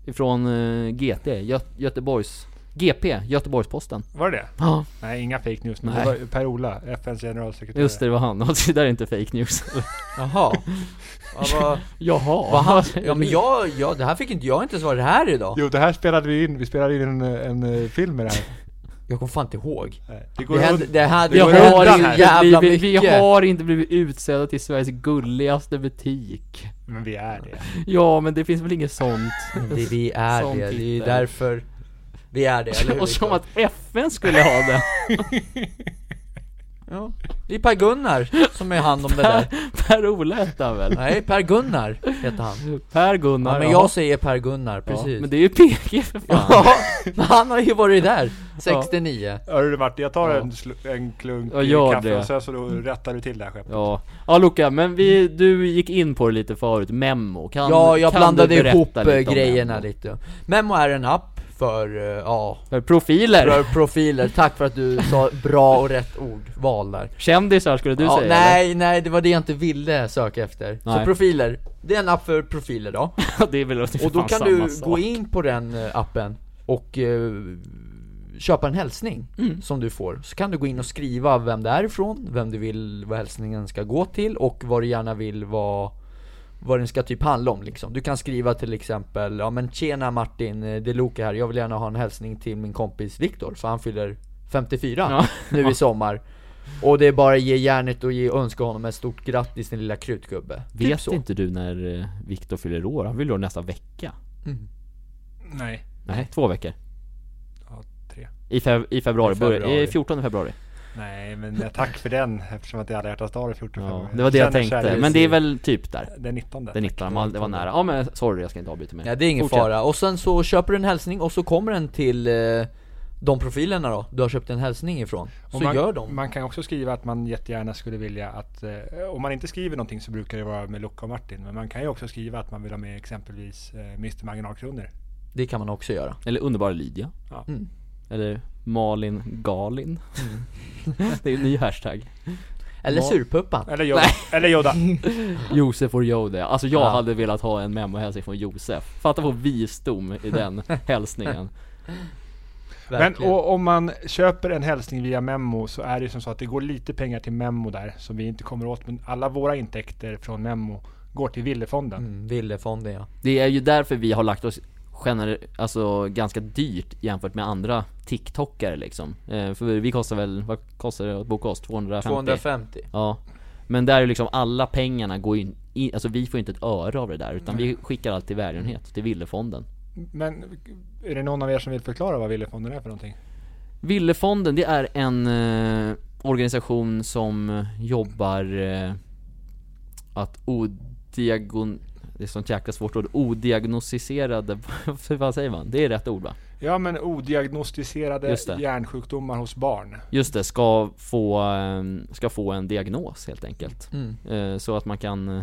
Speaker 2: Ifrån eh, GT, Gö- Göteborgs... GP, Göteborgs-Posten.
Speaker 1: Var det det?
Speaker 2: Ja,
Speaker 1: Nej, inga fake news. Men
Speaker 2: Nej.
Speaker 1: det var Per-Ola, FNs generalsekreterare.
Speaker 2: just det, det var han. Och det där är inte fake news.
Speaker 3: Jaha. ja, vad,
Speaker 2: Jaha.
Speaker 3: vad han, ja men jag, jag, det här fick inte jag inte ens vara det här idag.
Speaker 1: Jo, det här spelade vi in. Vi spelade in en, en eh, film med det här.
Speaker 3: Jag kommer fan inte ihåg.
Speaker 1: Nej, Det
Speaker 3: Det, hände, det här, det
Speaker 2: Vi
Speaker 1: går
Speaker 3: hände
Speaker 1: undan
Speaker 2: har,
Speaker 1: här.
Speaker 3: ju
Speaker 2: inte
Speaker 3: jävla
Speaker 2: blivit, vi
Speaker 3: mycket.
Speaker 2: har inte blivit utsedda till Sveriges gulligaste butik.
Speaker 1: Men vi är det.
Speaker 2: Ja, men det finns väl inget sånt.
Speaker 3: Det, vi är
Speaker 2: Sån
Speaker 3: det, det är ju
Speaker 2: titel.
Speaker 3: därför vi är det, eller hur?
Speaker 2: Och som
Speaker 3: Viktor?
Speaker 2: att FN skulle ha det.
Speaker 3: Ja. Det är Per-Gunnar som är hand om det där.
Speaker 2: Per-Ola hette han väl?
Speaker 3: Nej, Per-Gunnar heter han.
Speaker 2: Per-Gunnar,
Speaker 3: Ja, men jag säger Per-Gunnar,
Speaker 2: Ja,
Speaker 3: precis.
Speaker 2: men det är ju PG för fan.
Speaker 3: Ja, men han har ju varit där, 69.
Speaker 1: Hör du Martin, jag tar en, sl- en klunk
Speaker 2: Ja, gör
Speaker 1: kaffe
Speaker 2: det.
Speaker 1: och sen så då rättar du till det här skeppet.
Speaker 2: Ja, ja Luca, men vi, du gick in på det lite förut, Memo, kan,
Speaker 3: Ja, jag
Speaker 2: kan
Speaker 3: blandade
Speaker 2: du berätta
Speaker 3: ihop
Speaker 2: lite om
Speaker 3: eh, grejerna
Speaker 2: Memo?
Speaker 3: lite. Memo är en app för, eh, ja,
Speaker 2: För Profiler!
Speaker 3: för profiler. Tack för att du sa bra och rätt ordval där.
Speaker 2: Kändisar skulle du
Speaker 3: ja,
Speaker 2: säga
Speaker 3: nej, nej, det var det jag inte ville söka efter. Så
Speaker 2: Nej.
Speaker 3: profiler, det är en app för profiler då.
Speaker 2: eller? det är väl ungefär
Speaker 3: Och då
Speaker 2: fan
Speaker 3: kan
Speaker 2: samma
Speaker 3: du
Speaker 2: sak.
Speaker 3: gå in på den eh, appen och eh, köpa en hälsning
Speaker 2: Mm.
Speaker 3: som du får. Så kan du gå in och skriva vem det är ifrån, vem du vill, vad hälsningen ska gå till och vad du gärna vill vad, vad den ska typ handla om liksom. Du kan skriva till exempel, ja men tjena Martin, eh, det är Loke här, jag vill gärna ha en hälsning till min kompis Viktor för han fyller 54
Speaker 2: Ja.
Speaker 3: nu i sommar. Och det är bara ge järnet och ge, önska honom ett stort grattis din lilla krutgubbe.
Speaker 2: Vet
Speaker 3: typ så.
Speaker 2: inte du när eh, Viktor fyller år? Han fyller år nästa vecka?
Speaker 3: Mm.
Speaker 1: Nej.
Speaker 2: Nej, två veckor.
Speaker 1: Ja, tre.
Speaker 2: I, feb- i februari,
Speaker 1: I
Speaker 2: februari.
Speaker 1: februari.
Speaker 2: I 14 februari.
Speaker 1: Nej, men eh, tack för den eftersom att det är alla hjärtans dag den 14
Speaker 2: Ja,
Speaker 1: februari.
Speaker 2: det var det jag
Speaker 1: Känner
Speaker 2: tänkte.
Speaker 1: kärlek.
Speaker 2: Men det är väl typ där.
Speaker 1: Den 19.
Speaker 2: Den 19, man- det var nära. Ja men sorry, jag ska inte avbryta mer.
Speaker 3: Ja det är ingen
Speaker 2: Fortsätt.
Speaker 3: fara, och sen så köper du en hälsning och så kommer den till eh, de profilerna då, du har köpt en hälsning ifrån. Så
Speaker 1: Och man,
Speaker 3: gör de.
Speaker 1: man kan också skriva att man jättegärna skulle vilja att, eh, om man inte skriver någonting så brukar det vara med Luca och Martin. Men man kan ju också skriva att man vill ha med exempelvis eh, Mr Marginalkronor.
Speaker 3: Det kan man också göra.
Speaker 2: Eller underbara Lydia.
Speaker 1: Ja.
Speaker 3: Mm. Mm.
Speaker 2: Eller Malin Galin. det är en ny hashtag.
Speaker 3: Eller
Speaker 2: Ja.
Speaker 3: surpuppan.
Speaker 1: Eller Yoda. Eller Yoda.
Speaker 2: Josef och Yoda. Alltså jag
Speaker 3: Ja.
Speaker 2: hade velat ha en memohälsning från Josef. Fatta på visdom i den hälsningen.
Speaker 1: Men
Speaker 3: Verkligen.
Speaker 1: och, om man köper en hälsning via Memmo så är det ju som så att det går lite pengar till Memmo där som vi inte kommer åt. Men alla våra intäkter från Memmo går till Villefonden.
Speaker 3: Mm, Villefonden ja.
Speaker 2: Det är ju därför vi har lagt oss gener- alltså ganska dyrt jämfört med andra TikTokare liksom. Eh, för vi kostar väl, vad kostar det att boka oss? 250?
Speaker 3: 250.
Speaker 2: Ja. Men där är ju liksom alla pengarna går in, in, alltså vi får inte ett öre av det där utan vi skickar allt till välgörenhet, till Villefonden.
Speaker 3: Mm.
Speaker 1: Men är det någon av er som vill förklara vad Villefonden är för någonting?
Speaker 2: Villefonden, det är en eh, organisation som jobbar eh, att odiagon... Det är sånt jäkla svårt ord. Odiagnostiserade, vad säger man? Det är rätt ord va?
Speaker 1: Ja men odiagnostiserade
Speaker 2: Just det.
Speaker 1: hjärnsjukdomar hos barn.
Speaker 2: Just det, ska få, eh, ska få en diagnos helt enkelt.
Speaker 3: Mm.
Speaker 2: Eh, Så att man kan eh,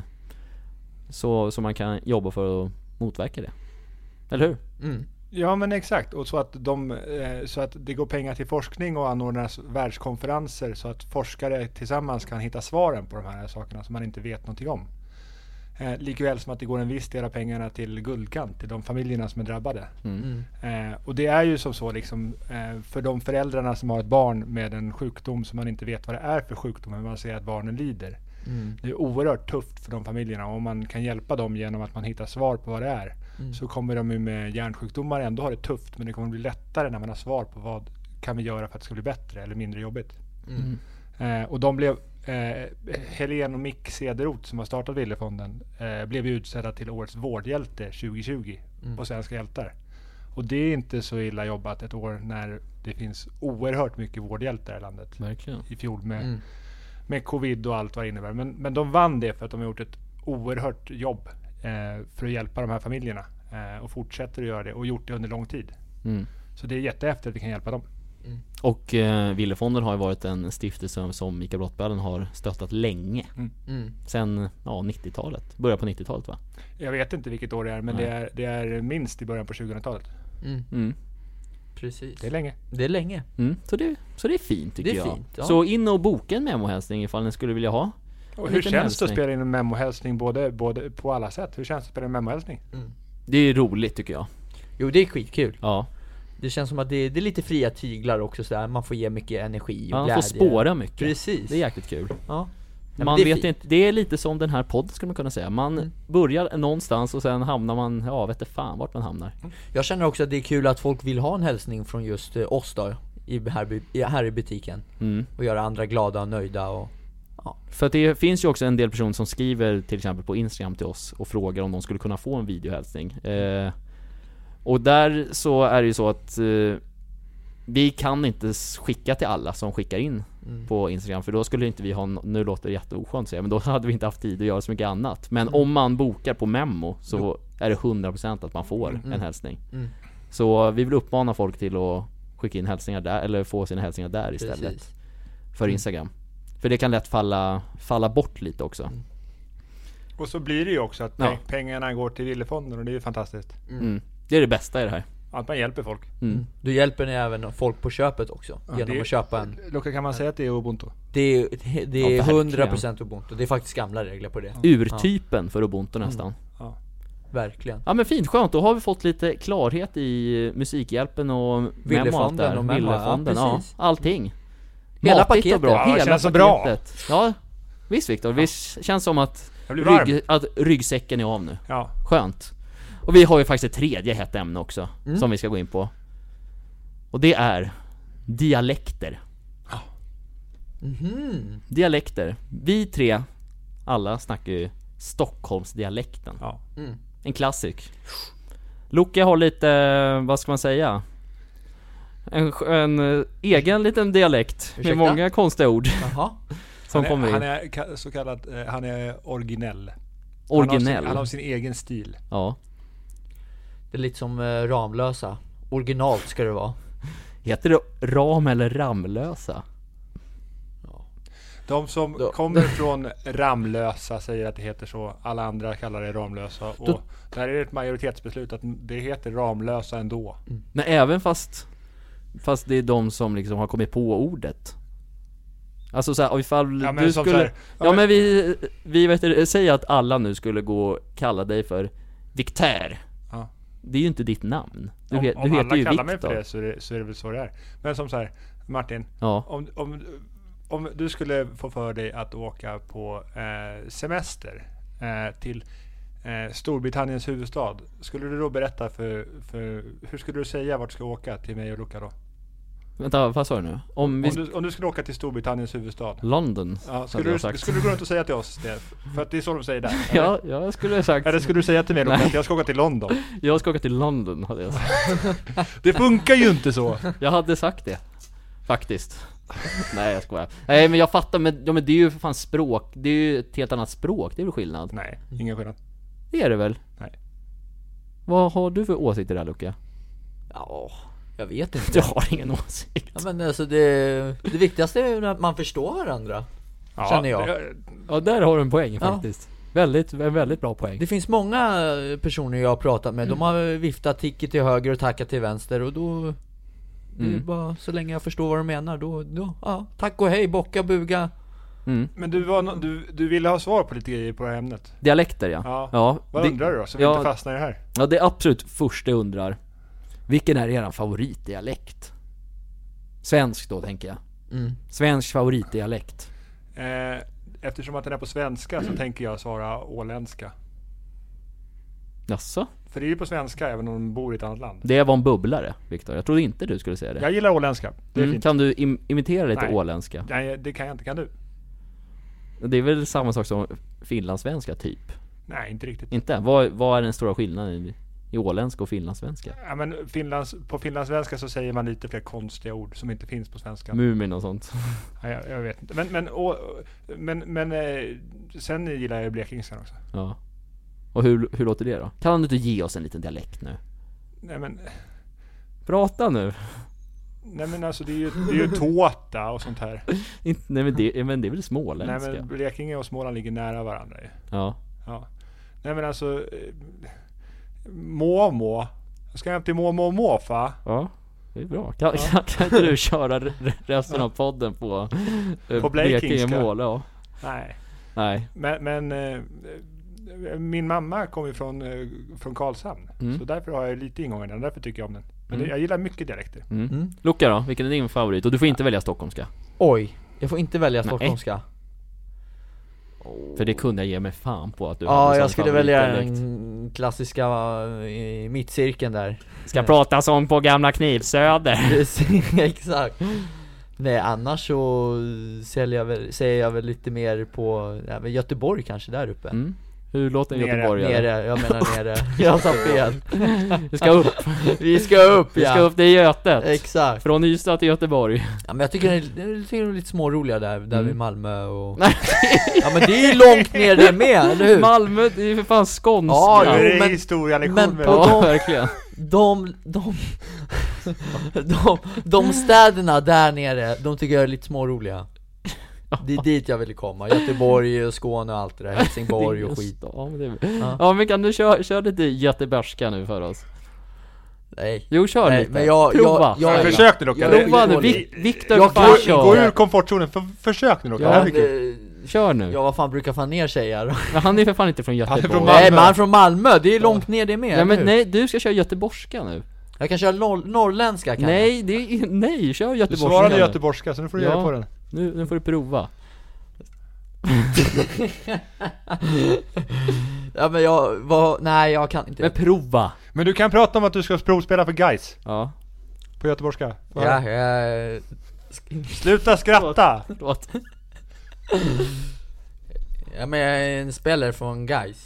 Speaker 2: så, så man kan jobba för att motverka det. Eller hur?
Speaker 3: Mm.
Speaker 1: Ja men exakt, och så att, de, eh, så att det går pengar till forskning och anordnas världskonferenser så att forskare tillsammans kan hitta svaren på de här sakerna som man inte vet någonting om. Eh, likväl som att det går en viss del av pengarna till guldkant, till de familjerna som är drabbade.
Speaker 3: Mm.
Speaker 1: Eh, och det är ju som så liksom, eh, för de föräldrarna som har ett barn med en sjukdom som man inte vet vad det är för sjukdom, men man ser att barnen lider.
Speaker 3: Mm.
Speaker 1: Det är oerhört tufft för de familjerna och om man kan hjälpa dem genom att man hittar svar på vad det är
Speaker 3: Mm.
Speaker 1: så kommer de ju med hjärnsjukdomar ändå ha det tufft men det kommer bli lättare när man har svar på vad kan vi göra för att det ska bli bättre eller mindre jobbigt.
Speaker 3: Mm.
Speaker 1: Eh, och de blev, eh, Helen och Mick Cederroth som har startat Villefonden eh, blev ju utsedda till Årets vårdhjälte 2020
Speaker 3: Mm.
Speaker 1: på Svenska hjältar. Och det är inte så illa jobbat ett år när det finns oerhört mycket vårdhjältar i landet.
Speaker 2: Verkligen.
Speaker 1: I fjol med
Speaker 3: Mm.
Speaker 1: med covid och allt vad det innebär. Men, men de vann det för att de har gjort ett oerhört jobb eh, för att hjälpa de här familjerna. Eh, och fortsätter att göra det och gjort det under lång tid.
Speaker 2: Mm.
Speaker 1: Så det är jättehäftigt att vi kan hjälpa dem.
Speaker 2: Och eh, Villefonden har ju varit en stiftelse som Mikael Brottballen har stöttat länge.
Speaker 3: Mm.
Speaker 2: Sen ja, 90-talet. Börjar på 90-talet va?
Speaker 1: Jag vet inte vilket år det är men det är, det är minst i början på 2000-talet.
Speaker 3: Mm.
Speaker 2: Mm.
Speaker 3: Precis.
Speaker 1: Det är länge.
Speaker 3: Det är länge.
Speaker 2: Mm. Så, det, så det är fint tycker
Speaker 3: Det är
Speaker 2: jag.
Speaker 3: fint, ja.
Speaker 2: Så in och boka en memohälsning ifall ni skulle vilja ha.
Speaker 1: Och
Speaker 2: En
Speaker 1: hur känns
Speaker 2: liten
Speaker 1: det att
Speaker 2: hälsning.
Speaker 1: spela in en memohälsning både, både på alla sätt? Hur känns det att spela in en memohälsning?
Speaker 2: Det är roligt tycker jag.
Speaker 3: Jo det är skitkul.
Speaker 2: Ja.
Speaker 3: Det känns som att det, det är lite fria tyglar också sådär, man får ge mycket energi och
Speaker 2: Man
Speaker 3: glädje.
Speaker 2: får spåra mycket.
Speaker 3: Precis.
Speaker 2: Det är jäkligt kul.
Speaker 3: Ja. men
Speaker 2: Man
Speaker 3: det är
Speaker 2: vet
Speaker 3: fint. Mm.
Speaker 2: inte, det är lite som den här podden skulle man kunna säga. Man börjar någonstans och sen hamnar man, ja vet inte fan vart man hamnar.
Speaker 3: Jag känner också att det är kul att folk vill ha en hälsning från just eh, oss då, i, här, bu- i- här i butiken.
Speaker 2: Mm.
Speaker 3: Och göra andra glada och nöjda och...
Speaker 2: För att det finns ju också en del personer som skriver till exempel på Instagram till oss och frågar om de skulle kunna få en videohälsning. Eh, och där så är det ju så att eh, vi kan inte s- skicka till alla som skickar in
Speaker 3: Mm.
Speaker 2: på Instagram för då skulle inte vi ha, nå- nu låter det jätteoskönt att säga, men då hade vi inte haft tid att göra så mycket annat. Men
Speaker 3: Mm.
Speaker 2: om man bokar på Memmo så är det 100% att man får en hälsning.
Speaker 3: Mm.
Speaker 2: Så vi vill uppmana folk till att skicka in hälsningar där, eller få sina hälsningar där istället
Speaker 3: Precis.
Speaker 2: för Instagram. För det kan lätt falla, falla bort lite också.
Speaker 3: Mm.
Speaker 1: Och så blir det ju också att
Speaker 2: Ja.
Speaker 1: pe- pengarna går till Villefonden och det är ju fantastiskt.
Speaker 2: Mm. Det är det bästa i det här.
Speaker 1: Att man hjälper folk.
Speaker 2: Mm.
Speaker 3: Du Mm. hjälper ni även folk på köpet också, genom
Speaker 1: det-
Speaker 3: att köpa en.
Speaker 2: Mm.
Speaker 1: Luca, kan man säga att det är ubuntu?
Speaker 3: Det är, det
Speaker 2: Ja,
Speaker 3: är
Speaker 2: verkligen.
Speaker 3: 100% ubuntu, det är faktiskt gamla regler på det.
Speaker 2: Urtypen för Ubuntu
Speaker 3: Mm.
Speaker 2: nästan.
Speaker 3: Verkligen.
Speaker 2: Ja men fint, skönt. Då har vi fått lite klarhet i Musikhjälpen och Memo och allt
Speaker 3: Villefonden
Speaker 2: där.
Speaker 3: och Memo,
Speaker 2: Villefonden,
Speaker 3: ja,
Speaker 2: ja,
Speaker 3: precis.
Speaker 2: allting.
Speaker 3: Hela
Speaker 2: Matigt och
Speaker 3: paketet.
Speaker 2: Bra.
Speaker 3: Ja,
Speaker 1: det
Speaker 2: Hela
Speaker 1: känns så bra.
Speaker 2: paketet. bra. Ja, visst Viktor. Det känns som att,
Speaker 1: Jag blir varm.
Speaker 2: rygg, att ryggsäcken är av nu.
Speaker 1: Ja.
Speaker 2: Skönt. Och vi har ju faktiskt ett tredje hett ämne också,
Speaker 1: Mm.
Speaker 2: som vi ska gå in på. Och det är dialekter.
Speaker 1: Ah. Mhm.
Speaker 2: Dialekter. Vi tre, alla snackar ju Stockholmsdialekten.
Speaker 1: Ja.
Speaker 2: En klassik. Loke har lite, vad ska man säga? En, sk- en eh, egen liten dialekt
Speaker 3: Ursäkta?
Speaker 2: med många konstiga ord
Speaker 3: Jaha.
Speaker 2: som
Speaker 1: han,
Speaker 2: kommer
Speaker 1: är,
Speaker 2: in.
Speaker 1: han är ka- så kallad, eh, han är originell. Han har,
Speaker 2: Originell.
Speaker 1: sin, han har sin egen stil.
Speaker 2: Ja.
Speaker 3: Det är lite som eh, Ramlösa. Originalt ska det vara.
Speaker 2: Heter det Ram eller Ramlösa?
Speaker 1: De som
Speaker 3: Då-
Speaker 1: kommer från Ramlösa säger att det heter så. Alla andra kallar det Ramlösa. Och där är det ett majoritetsbeslut att det heter Ramlösa ändå.
Speaker 2: Men även fast, fast det är de som liksom har kommit på ordet. Alltså såhär, ifall
Speaker 1: Ja, men
Speaker 2: du
Speaker 1: som
Speaker 2: skulle...
Speaker 1: så här-
Speaker 2: ja,
Speaker 1: ja,
Speaker 2: men,
Speaker 1: men-
Speaker 2: vi, vi vet du, säg att alla nu skulle gå och kalla dig för Victor.
Speaker 1: Ja.
Speaker 2: Det är ju inte ditt namn. Du,
Speaker 1: om
Speaker 2: he,
Speaker 1: om
Speaker 2: du heter
Speaker 1: alla
Speaker 2: ju
Speaker 1: kallar
Speaker 2: Viktor.
Speaker 1: mig för det så, är det så är det väl så det är. Men som så här, Martin.
Speaker 2: Ja.
Speaker 1: Om, om, om du skulle få för dig att åka på eh, semester eh, till eh, Storbritanniens huvudstad. Skulle du då berätta för, för... Hur skulle du säga vart du ska åka till mig och Luca då?
Speaker 2: Vänta, vad sa du nu? Om vi...
Speaker 1: Om du, om du skulle åka till Storbritanniens huvudstad.
Speaker 2: London,
Speaker 1: Ja,
Speaker 2: hade
Speaker 1: skulle,
Speaker 2: jag
Speaker 1: du,
Speaker 2: sagt.
Speaker 1: skulle du gå runt och säga till oss det? För att det är så de säger där. eller?
Speaker 2: Ja, jag skulle ha sagt...
Speaker 1: Eller skulle du säga till mig Luca
Speaker 2: Nej.
Speaker 1: att jag ska åka till London?
Speaker 2: Jag ska åka till London, hade jag sagt.
Speaker 1: Det funkar ju inte så!
Speaker 2: Jag hade sagt det. Faktiskt. Nej, jag skojar. Nej, men jag fattar, men, ja, men det är ju för fan språk. Det är ju ett helt annat språk, det är väl skillnad?
Speaker 1: Nej, ingen skillnad.
Speaker 2: Det är det väl?
Speaker 1: Nej.
Speaker 2: Vad har du för åsikter där Luca?
Speaker 3: Ja, jag vet inte
Speaker 2: Du har ingen åsikt.
Speaker 3: ja, men alltså det, det viktigaste är ju att man förstår varandra Känner jag.
Speaker 2: Ja, där har du en poäng
Speaker 3: Ja.
Speaker 2: faktiskt. Väldigt, en väldigt bra poäng.
Speaker 3: Det finns många eh, personer jag har pratat med,
Speaker 2: Mm.
Speaker 3: de har viftat ticke till höger och tackat till vänster och då det är
Speaker 2: Mm.
Speaker 3: bara, så länge jag förstår vad de menar då, då, ja, tack och hej, bocka, buga
Speaker 2: Mm.
Speaker 1: Men du, var, no- du, du ville ha svar på lite grejer på det här ämnet.
Speaker 2: Dialekter ja.
Speaker 1: Ja. Vad
Speaker 2: det,
Speaker 1: undrar du då? Så vi
Speaker 2: ja.
Speaker 1: inte fastnar i det här.
Speaker 2: ja, det är absolut första jag undrar. Vilken är eran favoritdialekt? Svensk då, tänker jag.
Speaker 3: mm.
Speaker 2: Svensk favoritdialekt.
Speaker 1: Eh, eftersom att den är på svenska så tänker jag svara åländska.
Speaker 2: Jaså?
Speaker 1: För det är ju på svenska även om de bor i ett annat land.
Speaker 2: Det var en bubblare, Viktor. Jag trodde inte du skulle säga det.
Speaker 1: Jag gillar åländska. Det är
Speaker 2: Mm,
Speaker 1: fint.
Speaker 2: kan du im- imitera lite
Speaker 1: Nej.
Speaker 2: åländska?
Speaker 1: Nej, det kan jag inte. Kan du?
Speaker 2: Det är väl samma sak som finlandssvenska, typ?
Speaker 1: Nej, inte riktigt.
Speaker 2: Inte? Vad, vad är den stora skillnaden i, i åländska och finlandssvenska?
Speaker 1: Ja, men Finlands, på finlandssvenska så säger man lite fler konstiga ord som inte finns på svenska.
Speaker 2: Mumin och sånt.
Speaker 1: Nej, jag, jag vet inte. Men, men, å, men, men eh, sen gillar jag ju blekingskan också.
Speaker 2: Ja. Och hur, hur låter det då? Kan du inte ge oss en liten dialekt nu?
Speaker 1: Nej men,
Speaker 2: Prata nu!
Speaker 1: nej, men alltså det är ju, det är ju tåta och sånt här.
Speaker 2: Inte, nej men det, men det är väl
Speaker 1: Nej,
Speaker 2: småländska?
Speaker 1: men Blekinge och Småland ligger nära varandra ju.
Speaker 2: Ja.
Speaker 1: Ja. Nej men alltså, eh, måmå. Jag ska hem till måmå och måfa.
Speaker 2: Ja. Det är bra. Kan, kan, kan inte du köra re- resten av podden på... eh,
Speaker 1: På blekingska.
Speaker 2: Måla, ja.
Speaker 1: Nej.
Speaker 2: Nej.
Speaker 1: Men, men eh, eh, min mamma kommer ju från, eh, från Karlshamn.
Speaker 2: Mm.
Speaker 1: Så därför har jag lite ingång i den. Därför tycker jag om den. Men
Speaker 2: Mm.
Speaker 1: det, jag gillar mycket dialekter.
Speaker 2: Mm.
Speaker 3: Mm.
Speaker 2: Luca då, vilken är din favorit? Och du får inte välja stockholmska.
Speaker 3: Oj, jag får inte välja
Speaker 2: Nej.
Speaker 3: stockholmska
Speaker 2: För det kunde jag ge mig fan på att du hade
Speaker 3: Ja,
Speaker 2: som
Speaker 3: jag skulle välja
Speaker 2: favoritdialekt.
Speaker 3: den klassiska eh, mittcirkeln där
Speaker 2: Ska prata som på gamla Knivsöder.
Speaker 3: Precis, exakt Nej annars så säljer jag väl, säger jag väl lite mer på, ja, men Göteborg kanske där uppe
Speaker 2: Mm. Hur låter en
Speaker 1: Nere,
Speaker 2: göteborgare?
Speaker 3: Nere, jag menar nere, jag sa fel
Speaker 2: Vi ska upp,
Speaker 3: Vi ska upp
Speaker 2: vi
Speaker 3: ja!
Speaker 2: ska upp till Götet.
Speaker 3: Exakt!
Speaker 2: Från Ystad till Göteborg.
Speaker 3: Ja men jag tycker det är, jag tycker det är lite småroliga där, där
Speaker 2: Mm.
Speaker 3: vid Malmö och... ja men det är ju långt ner det med, eller hur?
Speaker 2: Malmö, det är ju för fan skånska.
Speaker 3: Ja,
Speaker 1: nu är det
Speaker 3: men- men
Speaker 1: historielektion med
Speaker 3: på-
Speaker 1: oss.
Speaker 2: ja
Speaker 3: de-
Speaker 2: verkligen.
Speaker 3: De, de, de, de städerna där nere, de tycker jag är lite småroliga Det är dit jag ville komma, Göteborg, och Skåne och allt det där, Helsingborg och skit
Speaker 2: Ja men, det är...
Speaker 3: Ja.
Speaker 2: ja, men kan du köra, köra lite göteborgska nu för oss?
Speaker 3: Nej,
Speaker 2: Jo kör
Speaker 3: Nej,
Speaker 2: lite,
Speaker 3: men jag-
Speaker 2: prova!
Speaker 3: jag- jag-
Speaker 1: Försök nu Luca.
Speaker 3: jag-
Speaker 1: Det-
Speaker 2: prova nu,
Speaker 3: jag-
Speaker 2: Vic- Victor
Speaker 3: jag-
Speaker 2: fan
Speaker 3: jag-
Speaker 2: kör!
Speaker 1: Gå ur komfortzonen, för, försök nu Luca.
Speaker 2: Ja,
Speaker 1: Det här
Speaker 3: men,
Speaker 1: blir kul.
Speaker 3: eh,
Speaker 2: Kör nu!
Speaker 3: ja vad fan brukar fan ner säga då?
Speaker 2: Men han är för fan inte
Speaker 1: Han
Speaker 2: från
Speaker 1: är
Speaker 2: Göteborg.
Speaker 1: från Malmö.
Speaker 3: Nej men han är från Malmö, det är långt ner det med
Speaker 2: Ja, men
Speaker 3: eller
Speaker 2: nej, du ska köra göteborgska nu.
Speaker 3: hur? Jag kan köra norr, norrländska kan jag
Speaker 2: nej, det är, nej, kör
Speaker 1: Du
Speaker 2: göteborgska
Speaker 1: svarade
Speaker 2: nu.
Speaker 1: göteborgska så nu får du
Speaker 2: Ja.
Speaker 1: ge dig på den.
Speaker 2: Nu, nu får du prova.
Speaker 3: Ja men jag, vad, nej jag kan inte
Speaker 2: Men prova!
Speaker 1: Men du kan prata om att du ska provspela för Gais
Speaker 2: Ja,
Speaker 1: på göteborgska.
Speaker 3: Ja, jag,
Speaker 1: Sluta skratta!
Speaker 2: förlåt.
Speaker 3: ja men jag är en spelare från Gais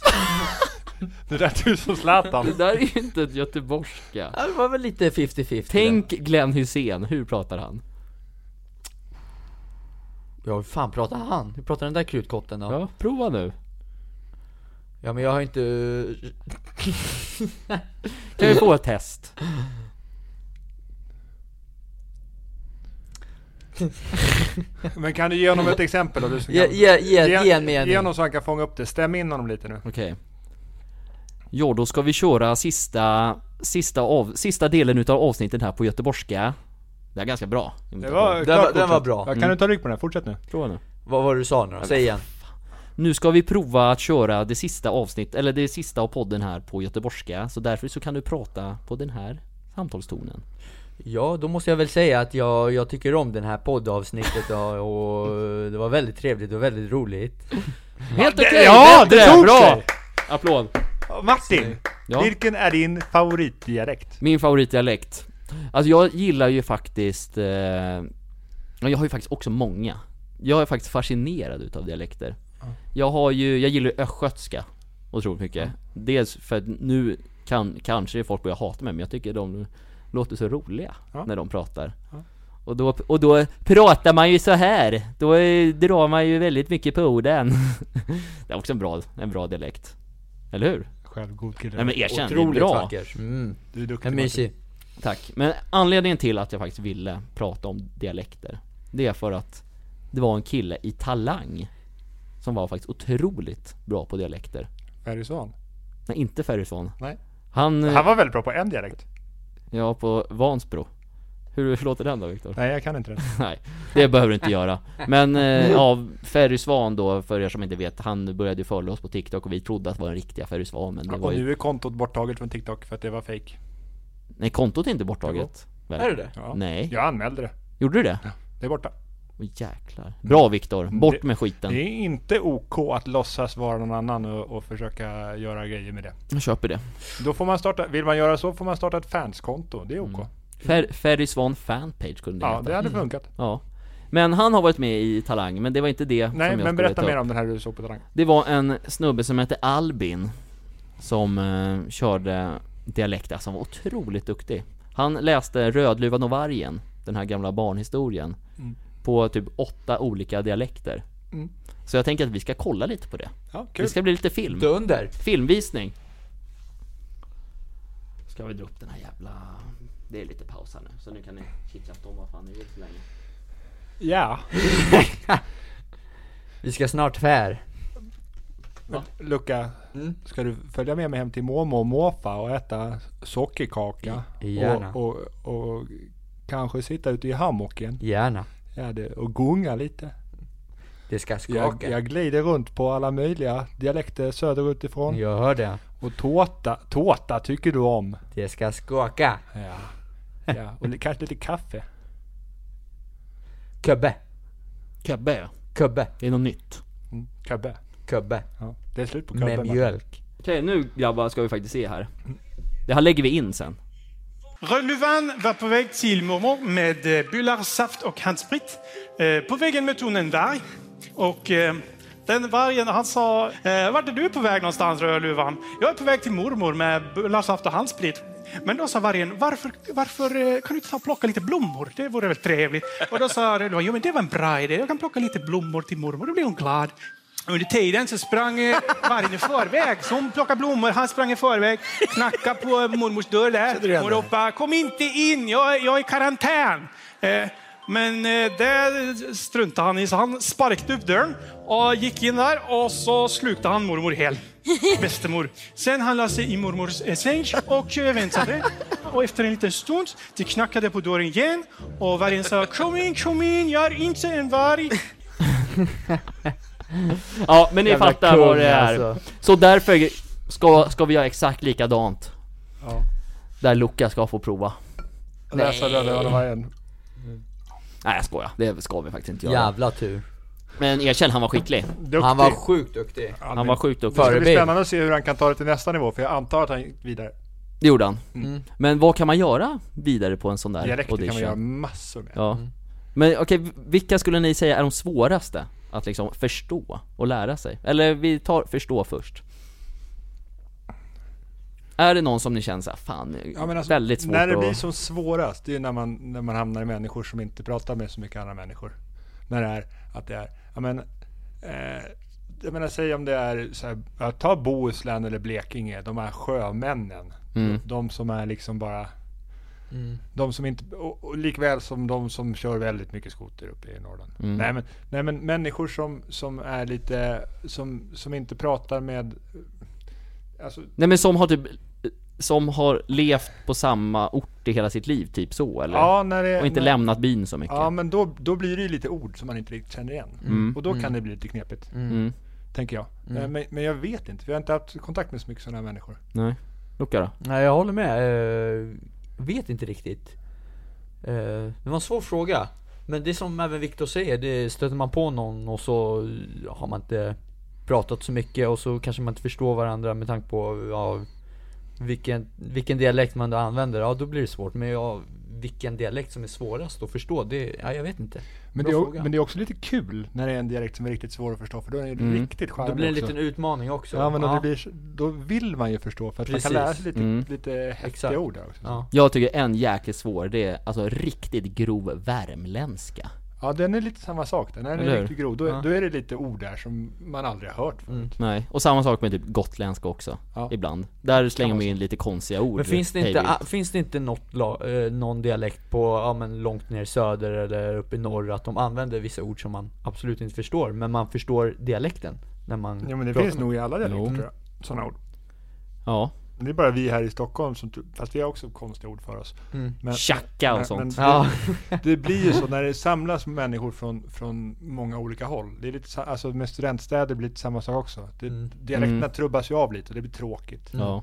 Speaker 1: Det lät ju som Zlatan.
Speaker 2: Det där är ju inte ett göteborgska.
Speaker 3: Ja, Det var väl lite 50-50
Speaker 2: Tänk Glenn Hussein, hur pratar han?
Speaker 3: där. Ja hur fan pratar han? Hur pratar den där krutkotten då? Ja,
Speaker 2: Ja, prova nu.
Speaker 3: men jag har inte...
Speaker 2: Kan vi få ett test?
Speaker 1: Men kan du ge honom ett exempel då? Du som
Speaker 3: Ge,
Speaker 1: kan-
Speaker 3: ge, ge, ge en
Speaker 1: Ge
Speaker 3: mening
Speaker 1: honom så han kan fånga upp det. Stäm in honom lite nu.
Speaker 2: Okej. Jo, då ska vi köra sista, sista, av, sista delen utav avsnittet här på göteborgska. Det är ganska bra
Speaker 1: Det var
Speaker 3: Den
Speaker 1: klart
Speaker 3: var- den var
Speaker 1: godkänt.
Speaker 3: bra.
Speaker 1: Ja, Kan
Speaker 2: Mm.
Speaker 1: du ta rygg på den? här? Fortsätt nu.
Speaker 2: Prova nu
Speaker 3: Vad var det du sa nu då? Säg igen
Speaker 2: Nu ska vi prova att köra det sista avsnitt, eller det sista av podden här på göteborgska Så därför så kan du prata på den här samtalstonen
Speaker 3: Ja, då måste jag väl säga att jag, jag tycker om den här poddavsnittet och, och det var väldigt trevligt och väldigt roligt
Speaker 2: Helt okej!
Speaker 1: ja, det
Speaker 2: bättre,
Speaker 1: tog
Speaker 2: bra!
Speaker 1: sig!
Speaker 2: Applåd!
Speaker 1: Martin!
Speaker 2: Ja.
Speaker 1: Vilken är din favoritdialekt?
Speaker 2: Min favoritdialekt Alltså jag gillar ju faktiskt eh, ja, Jag har ju faktiskt också många Jag är faktiskt fascinerad utav dialekter Jag har ju, jag gillar ju östgötska Otroligt mycket Dels för att nu kan, kanske folk börjar hata mig men jag tycker de låter så roliga
Speaker 1: Ja.
Speaker 2: när de pratar och då, och då pratar man ju så här. Då eh, drar man ju väldigt mycket på orden Det är också en bra, en bra dialekt Eller hur?
Speaker 1: Självgod kille.
Speaker 2: Nej men erkänn, det är
Speaker 3: Otroligt
Speaker 2: bra
Speaker 3: vackert. Mm.
Speaker 1: Du är duktig
Speaker 3: En mysig
Speaker 2: Tack. Men anledningen till att jag faktiskt ville prata om dialekter, det är för att det var en kille i Talang som var faktiskt otroligt bra på dialekter.
Speaker 1: Martin. Färjestad.
Speaker 2: Nej, inte Ferrisson.
Speaker 1: Nej.
Speaker 2: Han, eh,
Speaker 1: Han var väldigt bra på en dialekt.
Speaker 2: ja på Vansbro. Hur låter den då Viktor?
Speaker 1: Nej, jag kan inte det.
Speaker 2: Nej, det behöver du inte göra. Men eh, ja, Ferry Svan då, för er som inte vet, han började ju följa oss på TikTok och vi trodde att det var den riktiga Ferry Svan, men det var
Speaker 1: Och
Speaker 2: ju...
Speaker 1: nu är kontot borttaget från TikTok för att det var fake.
Speaker 2: Nej, kontot är inte borttaget. väl?
Speaker 3: Är det det?
Speaker 1: Ja.
Speaker 2: Nej.
Speaker 1: Jag anmälde det.
Speaker 2: Gjorde du det?
Speaker 1: Det är borta.
Speaker 2: Åh jäklar. Bra Viktor, bort
Speaker 1: Det-
Speaker 2: med skiten.
Speaker 1: Det är inte OK att låtsas vara någon annan och, och försöka göra grejer med det.
Speaker 2: Jag köper det.
Speaker 1: Då får man starta, vill man göra så får man starta ett fanskonto. Det är OK.
Speaker 2: Fer, Ferry Svan fanpage kunde Mm, det
Speaker 1: Ja, det
Speaker 2: heta.
Speaker 1: hade funkat.
Speaker 2: Ja. Men han har varit med i Talang, men det var inte det
Speaker 1: Nej,
Speaker 2: som jag
Speaker 1: men berätta
Speaker 2: skulle
Speaker 1: mer
Speaker 2: ta upp.
Speaker 1: om den här du såg på Talang.
Speaker 2: Det var en snubbe som hette Albin Som eh, körde dialekt, alltså han var otroligt duktig Han läste Rödluvan och vargen Den här gamla barnhistorien På typ åtta olika dialekter
Speaker 1: Mm.
Speaker 2: Så jag tänker att vi ska kolla lite på det
Speaker 1: Ja,
Speaker 2: Det
Speaker 1: kul.
Speaker 2: ska bli lite film
Speaker 3: Dunder!
Speaker 2: Filmvisning Ska vi dra upp den här jävla... Det är lite paus här nu, så nu kan ni chitchatta om vad fan ni vill så länge
Speaker 1: Ja.
Speaker 3: Vi ska snart fär
Speaker 1: Luca,
Speaker 3: Mm.
Speaker 1: ska du följa med mig hem till mormor och morfar och äta sockerkaka?
Speaker 3: Gärna.
Speaker 1: Och, och, och kanske sitta ute i hammocken
Speaker 3: Gärna
Speaker 1: ja, det, och gunga lite.
Speaker 3: Det ska
Speaker 1: Jag,
Speaker 3: skaka
Speaker 1: jag glider runt på alla möjliga dialekter söderutifrån.
Speaker 3: Jag hör det
Speaker 1: Och tårta, tårta tycker du om.
Speaker 3: Det ska skaka
Speaker 1: Ja. ja. Och li- kanske lite kaffe.
Speaker 3: Kubbe
Speaker 2: Kebbe,
Speaker 3: Kubbe
Speaker 2: det är något nytt
Speaker 1: Mm. Kubbe.
Speaker 3: Kubbe
Speaker 1: Ja. Det är slut på kubbe.
Speaker 3: Med
Speaker 1: Martin.
Speaker 3: mjölk
Speaker 2: Okej nu grabbar ska vi faktiskt se här Det här lägger vi in sen
Speaker 5: Rödluvan var på väg till mormor med eh, bullar, saft och handsprit. Eh, På vägen mötte hon en varg. Och eh, den vargen han sa, eh, vart är du på väg någonstans Rödluvan? Jag är på väg till mormor med bullar, saft och handsprit. Men då sa vargen, varför, varför eh, kan du inte ta och plocka lite blommor? Det vore väl trevligt. Och då sa Rödluvan, jo men det var en bra idé, jag kan plocka lite blommor till mormor, då blir hon glad. Under tiden så sprang eh, vargen i förväg. Så hon plockade blommor, han sprang i förväg, knackade på mormors dörr där. Hon ropade kom inte in, jag, är- jag är i karantän. Eh, men eh, det struntade han i, så han sparkade upp dörren och gick in där och så slukade han mormor hel. Bestemor. Sen han la sig i mormors eh, säng och eh, väntade. Och efter en liten stund, det knackade på dörren igen och vargen sa kom in, kom in, jag är inte en varg.
Speaker 2: Ja men ni
Speaker 3: Jävla
Speaker 2: fattar
Speaker 3: kung,
Speaker 2: vad det är
Speaker 3: alltså.
Speaker 2: Så därför ska, ska vi göra exakt likadant Där Luca ska få prova
Speaker 1: Läsa Rödluvan och vargen.
Speaker 2: Nej jag skojar, det ska vi faktiskt inte göra
Speaker 3: Jävla tur
Speaker 2: Men erkänn, han var skicklig
Speaker 1: Duktig.
Speaker 3: Han var sjukt duktig
Speaker 2: Han var sjukt duktig
Speaker 1: Det ska bli
Speaker 3: förebild.
Speaker 1: spännande att se hur han kan ta det till nästa nivå. För jag antar att han gick vidare.
Speaker 2: Det gjorde han Men vad kan man göra vidare på en sån där
Speaker 1: Dialekter kan man
Speaker 2: audition?
Speaker 1: göra massor med.
Speaker 2: Ja Mm. Men okej, vilka skulle ni säga är de svåraste? Att liksom förstå och lära sig? Eller vi tar förstå först Är det någon som ni känner såhär, fan,
Speaker 1: Ja, men alltså,
Speaker 2: väldigt svårt
Speaker 1: när det
Speaker 2: att...
Speaker 1: blir som svårast, det är ju när man, när man hamnar i människor som inte pratar med så mycket andra människor. När det är att det är, ja men, eh, jag menar säg om det är så här, ja, ta Bohuslän eller Blekinge, de här sjömännen.
Speaker 2: Mm.
Speaker 1: De, de som är liksom bara, de som inte, och, och likväl som de som kör väldigt mycket skoter uppe i Norrland.
Speaker 2: Mm.
Speaker 1: Nej, men, nej men människor som, som är lite, som, som inte pratar med, alltså
Speaker 2: Nej men som har typ som har levt på samma ort i hela sitt liv, typ så eller?
Speaker 1: Ja, när det,
Speaker 2: Och inte
Speaker 1: när,
Speaker 2: lämnat byn så mycket?
Speaker 1: Ja, men då, då blir det ju lite ord som man inte riktigt känner igen. Och då kan det bli lite knepigt,
Speaker 2: Mm.
Speaker 1: tänker jag.
Speaker 3: Mm.
Speaker 1: Eh, Men, men jag vet inte, vi har inte haft kontakt med så mycket sådana här människor.
Speaker 2: Nej. Luca då?
Speaker 3: Nej jag håller med, Eh, vet inte riktigt Eh, Det var en svår fråga Men det är som även Viktor säger, det stöter man på någon och så har man inte pratat så mycket och så kanske man inte förstår varandra med tanke på ja, vilken, vilken dialekt man då använder, ja då blir det svårt men ja, vilken dialekt som är svårast att förstå, det, ja, jag vet inte
Speaker 1: Men
Speaker 3: Bra
Speaker 1: det, är, o-
Speaker 3: fråga.
Speaker 1: men det är också lite kul när det är en dialekt som är riktigt svår att förstå, för då är det
Speaker 2: Mm.
Speaker 1: riktigt charmig
Speaker 3: Då blir det en
Speaker 1: också.
Speaker 3: liten utmaning också
Speaker 1: Ja men då, det blir, då vill man ju förstå för att man
Speaker 3: Precis.
Speaker 1: kan lära sig lite,
Speaker 2: Mm.
Speaker 1: lite häftiga
Speaker 3: Exakt.
Speaker 1: ord där också. Ja.
Speaker 3: ja.
Speaker 2: Jag tycker en jäkligt svår, det är alltså riktigt grov värmländska.
Speaker 1: den är lite samma sak. Den är
Speaker 2: Eller hur?
Speaker 1: riktigt grov. Då,
Speaker 3: Ja. Mm.
Speaker 1: då är det lite ord där som man aldrig har hört förut.
Speaker 2: Nej, och samma sak med typ gotländska också,
Speaker 1: Ja.
Speaker 2: ibland. Där slänger
Speaker 1: man
Speaker 2: man in lite konstiga ord.
Speaker 3: Men finns det inte,
Speaker 2: hej vilt.
Speaker 3: a, finns det inte något, la- eh, någon dialekt på, ja men långt ner i söder eller uppe i norr att de använder vissa ord som man absolut inte förstår, men man förstår dialekten när man
Speaker 1: Ja men det
Speaker 3: pratar
Speaker 1: finns
Speaker 3: med-
Speaker 1: nog i alla dialekter
Speaker 2: Jo.
Speaker 1: tror jag. Sådana ord.
Speaker 2: Ja,
Speaker 1: Det är bara vi här i Stockholm som, typ- fast vi har också konstiga ord för oss.
Speaker 3: Mm.
Speaker 1: Men,
Speaker 2: tjacka
Speaker 1: men-
Speaker 2: och sånt.
Speaker 1: men
Speaker 3: Ja,
Speaker 1: det, det blir ju så när det samlas människor från, från många olika håll. Det är lite, sa- alltså med studentstäder blir det samma sak också. Det,
Speaker 3: Mm.
Speaker 1: Dialekterna
Speaker 2: Mm.
Speaker 1: trubbas ju av lite och det blir tråkigt.
Speaker 2: Ja.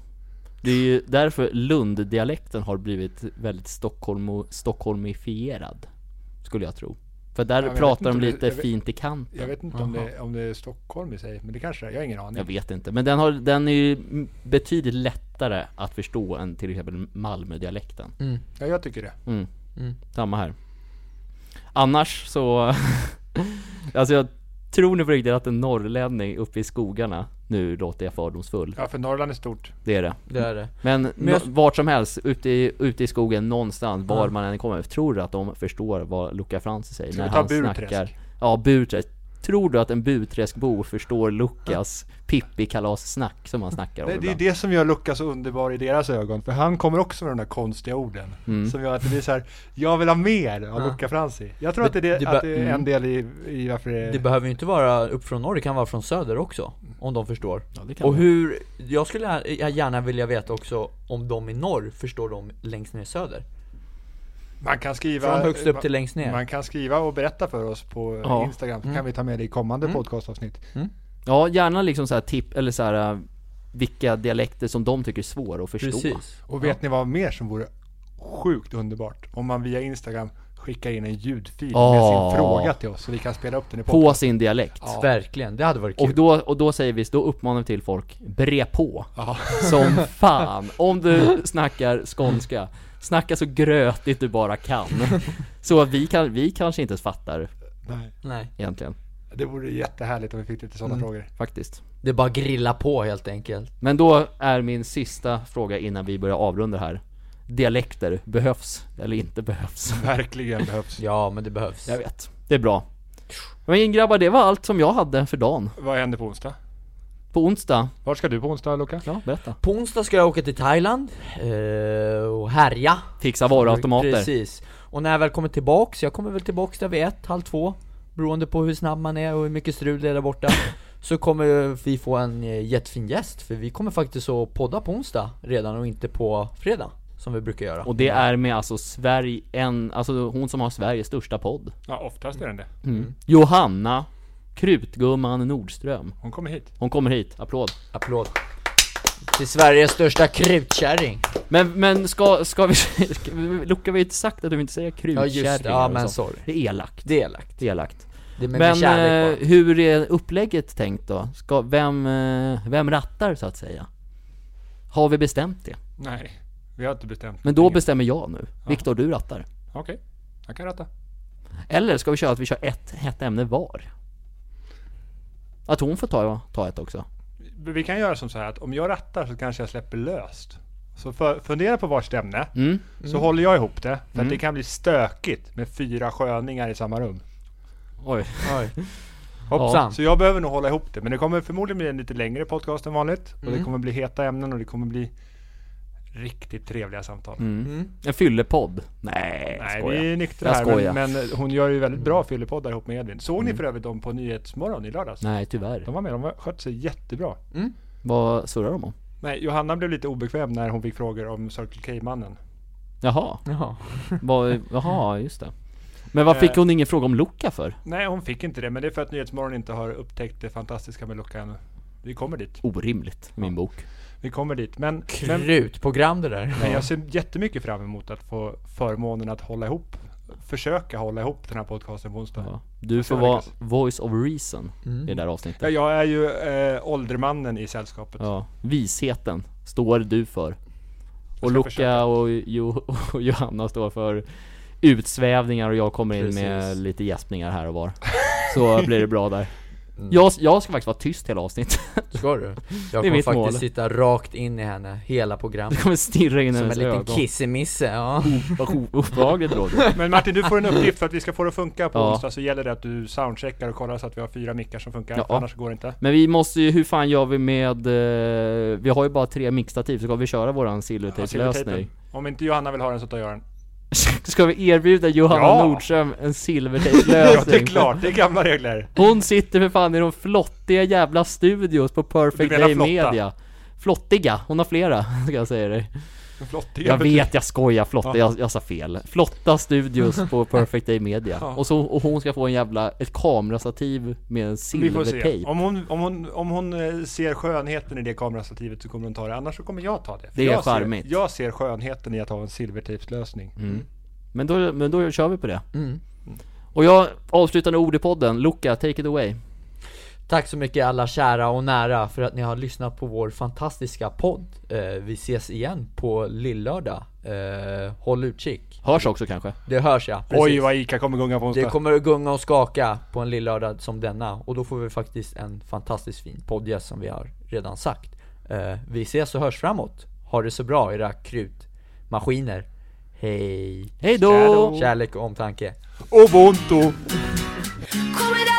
Speaker 2: Det är ju därför Lunddialekten har blivit väldigt Stockholm stockholmifierad, skulle jag tro. För där
Speaker 1: Ja, men jag
Speaker 2: pratar
Speaker 1: vet
Speaker 2: de
Speaker 1: inte,
Speaker 2: lite
Speaker 1: jag vet-
Speaker 2: fint i kanten.
Speaker 1: Jag vet inte om det, om det är Stockholm i sig, men det kanske det är. Jag har ingen aning.
Speaker 2: Jag vet inte, men den, har, den är ju m- betydligt lättare att förstå än till exempel Malmödialekten.
Speaker 1: Ja, jag tycker det.
Speaker 2: Mm.
Speaker 3: Mm.
Speaker 2: Samma här. Annars så... alltså jag tror nu på riktigt att en norrlänning uppe i skogarna, nu låter jag fördomsfull,
Speaker 1: Ja, för Norrland är stort.
Speaker 2: det är det.
Speaker 3: det är det.
Speaker 2: Men,
Speaker 3: Men jag-
Speaker 2: nå- vart som helst, ute i, ute i skogen någonstans, var man än kommer, tror du att de förstår vad Luca Francis säger
Speaker 1: Ska
Speaker 2: när
Speaker 1: vi ta
Speaker 2: han
Speaker 1: Burträsk?
Speaker 2: snackar? Ja, Burträsk. Tror du att en Burträskbo förstår Lukas Pippi-kalas-snack som han snackar om
Speaker 1: Det, det är
Speaker 2: ibland?
Speaker 1: det som gör Lukas så underbar i deras ögon, för han kommer också med de där konstiga orden. Som gör att det blir så här, jag vill ha mer av
Speaker 3: Ja.
Speaker 1: Luca Franzi. Jag tror
Speaker 3: Men
Speaker 1: att det, är det,
Speaker 3: det
Speaker 1: att
Speaker 3: bör-
Speaker 1: det är en
Speaker 3: mm.
Speaker 1: del i, i varför det
Speaker 3: Det
Speaker 1: är...
Speaker 3: behöver ju inte vara upp från norr, det kan vara från söder också, om de förstår.
Speaker 2: Ja, det kan
Speaker 3: Och
Speaker 2: man.
Speaker 3: hur, jag skulle gär- jag gärna vilja veta också om de i norr förstår de längst ner i söder?
Speaker 1: Man kan skriva...
Speaker 3: Från högst upp till längst ner? Mm.
Speaker 1: Man kan skriva och berätta för oss på eh,
Speaker 2: Ja.
Speaker 1: Instagram, så kan vi ta med det i kommande podcastavsnitt.
Speaker 2: Ja, gärna liksom så här tipp, eller så här äh, vilka dialekter som de tycker är svåra att förstå.
Speaker 3: Precis.
Speaker 1: Och vet ni vad mer som vore sjukt underbart? Om man via Instagram skickar in en ljudfil med
Speaker 2: Åh.
Speaker 1: sin fråga till oss, så vi kan spela upp den i podden.
Speaker 2: På sin dialekt.
Speaker 3: Verkligen, det hade varit kul.
Speaker 2: Och då, och då säger vi, då uppmanar vi till folk, bre på! Som fan! Om du snackar skånska, snacka så grötigt du bara kan. Så att vi, kan, vi kanske inte ens fattar
Speaker 1: Nej.
Speaker 3: Nej.
Speaker 2: egentligen,
Speaker 1: Det vore jättehärligt om vi fick lite sådana
Speaker 3: Mm.
Speaker 1: frågor.
Speaker 2: faktiskt.
Speaker 3: Det är bara att grilla på helt enkelt.
Speaker 2: Men då är min sista fråga innan vi börjar avrunda här. Dialekter, behövs eller inte behövs?
Speaker 1: Verkligen behövs.
Speaker 3: Ja, men det behövs.
Speaker 2: Jag vet, det är bra. Men grabbar, det var allt som jag hade för dagen.
Speaker 1: Vad händer på onsdag?
Speaker 2: På onsdag,
Speaker 1: Vart ska du på onsdag Luca?
Speaker 2: ja berätta.
Speaker 3: På onsdag ska jag åka till Thailand eh, och härja.
Speaker 2: Fixa varuautomater.
Speaker 3: Precis. Och när jag väl kommer tillbaks, jag kommer väl tillbaks där vid ett, halv två. Beroende på hur snabb man är och hur mycket strul det är där borta. så kommer vi få en eh, jättefin gäst, för vi kommer faktiskt att podda på onsdag redan och inte på fredag. Som vi brukar göra.
Speaker 2: Och det är med alltså Sverige, en, alltså hon som har Sveriges största podd.
Speaker 1: Ja, oftast är den det.
Speaker 2: Johanna Krutgumman Nordström.
Speaker 1: Hon kommer hit.
Speaker 2: Hon kommer hit, applåd.
Speaker 3: Applåd. Till Sveriges största krutkärring.
Speaker 2: Men, men ska, ska vi, ska vi- Luca vi har ju inte sagt att du inte säger
Speaker 3: Ja
Speaker 2: krutkärring
Speaker 3: just det, ja
Speaker 2: och
Speaker 3: men
Speaker 2: sånt.
Speaker 3: sorry.
Speaker 2: Det är elakt,
Speaker 3: Det är elakt.
Speaker 2: det är elakt.
Speaker 3: Det är med, med
Speaker 2: Men
Speaker 3: kärlek
Speaker 2: eh,
Speaker 3: bara.
Speaker 2: hur är upplägget tänkt då? Ska, vem, eh, vem rattar så att säga? Har vi bestämt det?
Speaker 1: Nej, vi har inte bestämt.
Speaker 2: Men då
Speaker 1: någonting.
Speaker 2: bestämmer jag nu. Viktor, du rattar.
Speaker 1: Okej, jag kan rätta.
Speaker 2: Eller ska vi köra att vi kör ett hett ämne var? Att hon får ta, ta ett också.
Speaker 1: Vi kan göra som så här att om jag rattar så kanske jag släpper löst. Så för, fundera på varsitt ämne,
Speaker 2: Mm.
Speaker 1: så håller jag ihop det. För att det kan bli stökigt med fyra sköningar i samma rum.
Speaker 2: Oj.
Speaker 3: Oj. Hoppsan.
Speaker 1: Så jag behöver nog hålla ihop det. Men det kommer förmodligen bli en lite längre podcast än vanligt. Och
Speaker 2: Mm.
Speaker 1: det kommer bli heta ämnen och det kommer bli riktigt trevliga samtal.
Speaker 2: En fyllepodd? Nej,
Speaker 1: Nej,
Speaker 2: skojar.
Speaker 1: vi är nyktra
Speaker 2: Mm. Jag
Speaker 1: här.
Speaker 2: skojar. Mm.
Speaker 1: Men, men hon gör ju väldigt bra fyllepoddar ihop med Edvin. Såg ni för övrigt dem på Nyhetsmorgon i lördags?
Speaker 2: Nej, tyvärr.
Speaker 1: De var med, de har skött sig jättebra.
Speaker 2: Vad surrar de om?
Speaker 1: Nej, Johanna blev lite obekväm när hon fick frågor om Circle K-mannen.
Speaker 2: Jaha,
Speaker 1: Mm.
Speaker 3: Jaha.
Speaker 2: vad, jaha, just det. Men vad fick
Speaker 1: Eh.
Speaker 2: hon ingen fråga om Luca för?
Speaker 1: Nej, hon fick inte det, men det är för att Nyhetsmorgon inte har upptäckt det fantastiska med Luca ännu. Vi kommer dit.
Speaker 2: Orimligt, i min bok.
Speaker 1: Vi kommer dit. Men, men,
Speaker 3: Krutprogram det där.
Speaker 1: men jag ser jättemycket fram emot att få förmånen att hålla ihop, försöka hålla ihop den här podcasten på onsdag.
Speaker 2: Ja. Du får
Speaker 1: jag
Speaker 2: vara
Speaker 1: lyckas.
Speaker 2: voice of reason i det där avsnittet.
Speaker 1: Ja, jag är ju eh, åldermannen i sällskapet.
Speaker 2: Ja, visheten står du för.
Speaker 1: ska
Speaker 2: Och Luca
Speaker 1: försöka.
Speaker 2: och, jo, och Johanna står för utsvävningar och jag kommer in med
Speaker 3: Precis.
Speaker 2: lite gäspningar här och var. Så blir det bra där.
Speaker 1: Mm.
Speaker 2: Jag, jag ska faktiskt vara tyst hela avsnittet.
Speaker 3: Ska du? Jag
Speaker 2: Det är
Speaker 3: kommer
Speaker 2: mitt
Speaker 3: faktiskt
Speaker 2: mål.
Speaker 3: sitta rakt in i henne, hela
Speaker 2: Jag
Speaker 3: programmet.
Speaker 2: kommer stirra in i
Speaker 3: Som en
Speaker 2: hennes
Speaker 3: liten
Speaker 2: ögon.
Speaker 3: kissemisse, ja.
Speaker 2: Vad o- obehagligt Roger.
Speaker 1: Men Martin, du får en uppgift för att vi ska få det att funka på
Speaker 2: Ja.
Speaker 1: onsdag så gäller det att du soundcheckar och kollar så att vi har fyra mickar som funkar,
Speaker 2: Ja.
Speaker 1: för annars går det inte.
Speaker 2: Men vi måste ju, hur fan gör vi med... eh, vi har ju bara tre mixtativ, så ska vi köra våran silvertejplösning?
Speaker 1: Silvertejpen. Om inte Johanna vill ha den så tar jag den.
Speaker 2: Ska vi erbjuda Johanna
Speaker 1: Ja.
Speaker 2: Nordström en
Speaker 1: Ja, det är
Speaker 2: silvertejplösning?
Speaker 1: klart, det är gamla regler.
Speaker 2: Hon sitter för fan i de flottiga jävla studios på Perfect
Speaker 1: Du menar
Speaker 2: Day
Speaker 1: flotta?
Speaker 2: Media Flottiga, hon har flera, ska jag säga dig
Speaker 1: Flottiga
Speaker 2: Jag
Speaker 1: betyg.
Speaker 2: vet, jag skojar, flotta, jag, jag sa fel Flotta studios på Perfect Day Media
Speaker 1: Ja.
Speaker 2: och, så, och hon ska få en jävla, ett kamerastativ med en
Speaker 1: Vi får se.
Speaker 2: silvertejp
Speaker 1: Om hon, om, hon, om hon eh, ser skönheten i det kamerastativet så kommer hon ta det, annars så kommer jag ta det. För
Speaker 2: Det är
Speaker 1: jag
Speaker 2: charmigt. Mm.
Speaker 1: Ser, jag ser skönheten i att ha en silvertejpslösning.
Speaker 2: men då, men då kör vi på det Och jag, avslutande ord i podden, Luca, take it away
Speaker 3: Tack så mycket alla kära och nära för att ni har lyssnat på vår fantastiska podd. Eh, vi ses igen på lillördag. Eh, håll utkik.
Speaker 2: Hörs också kanske?
Speaker 3: Det hörs ja, precis.
Speaker 1: Oj vad Ica kommer gunga på
Speaker 3: det
Speaker 1: onsdag.
Speaker 3: kommer att gunga och skaka på en lillördag som denna och då får vi faktiskt en fantastiskt fin poddgäst som vi har redan sagt. Eh, vi ses och hörs framåt. Ha det så bra era krutmaskiner. Hej!
Speaker 2: Hej då!
Speaker 3: Kärlek och omtanke.
Speaker 1: Ubuntu!
Speaker 4: Kommer Ah, ah,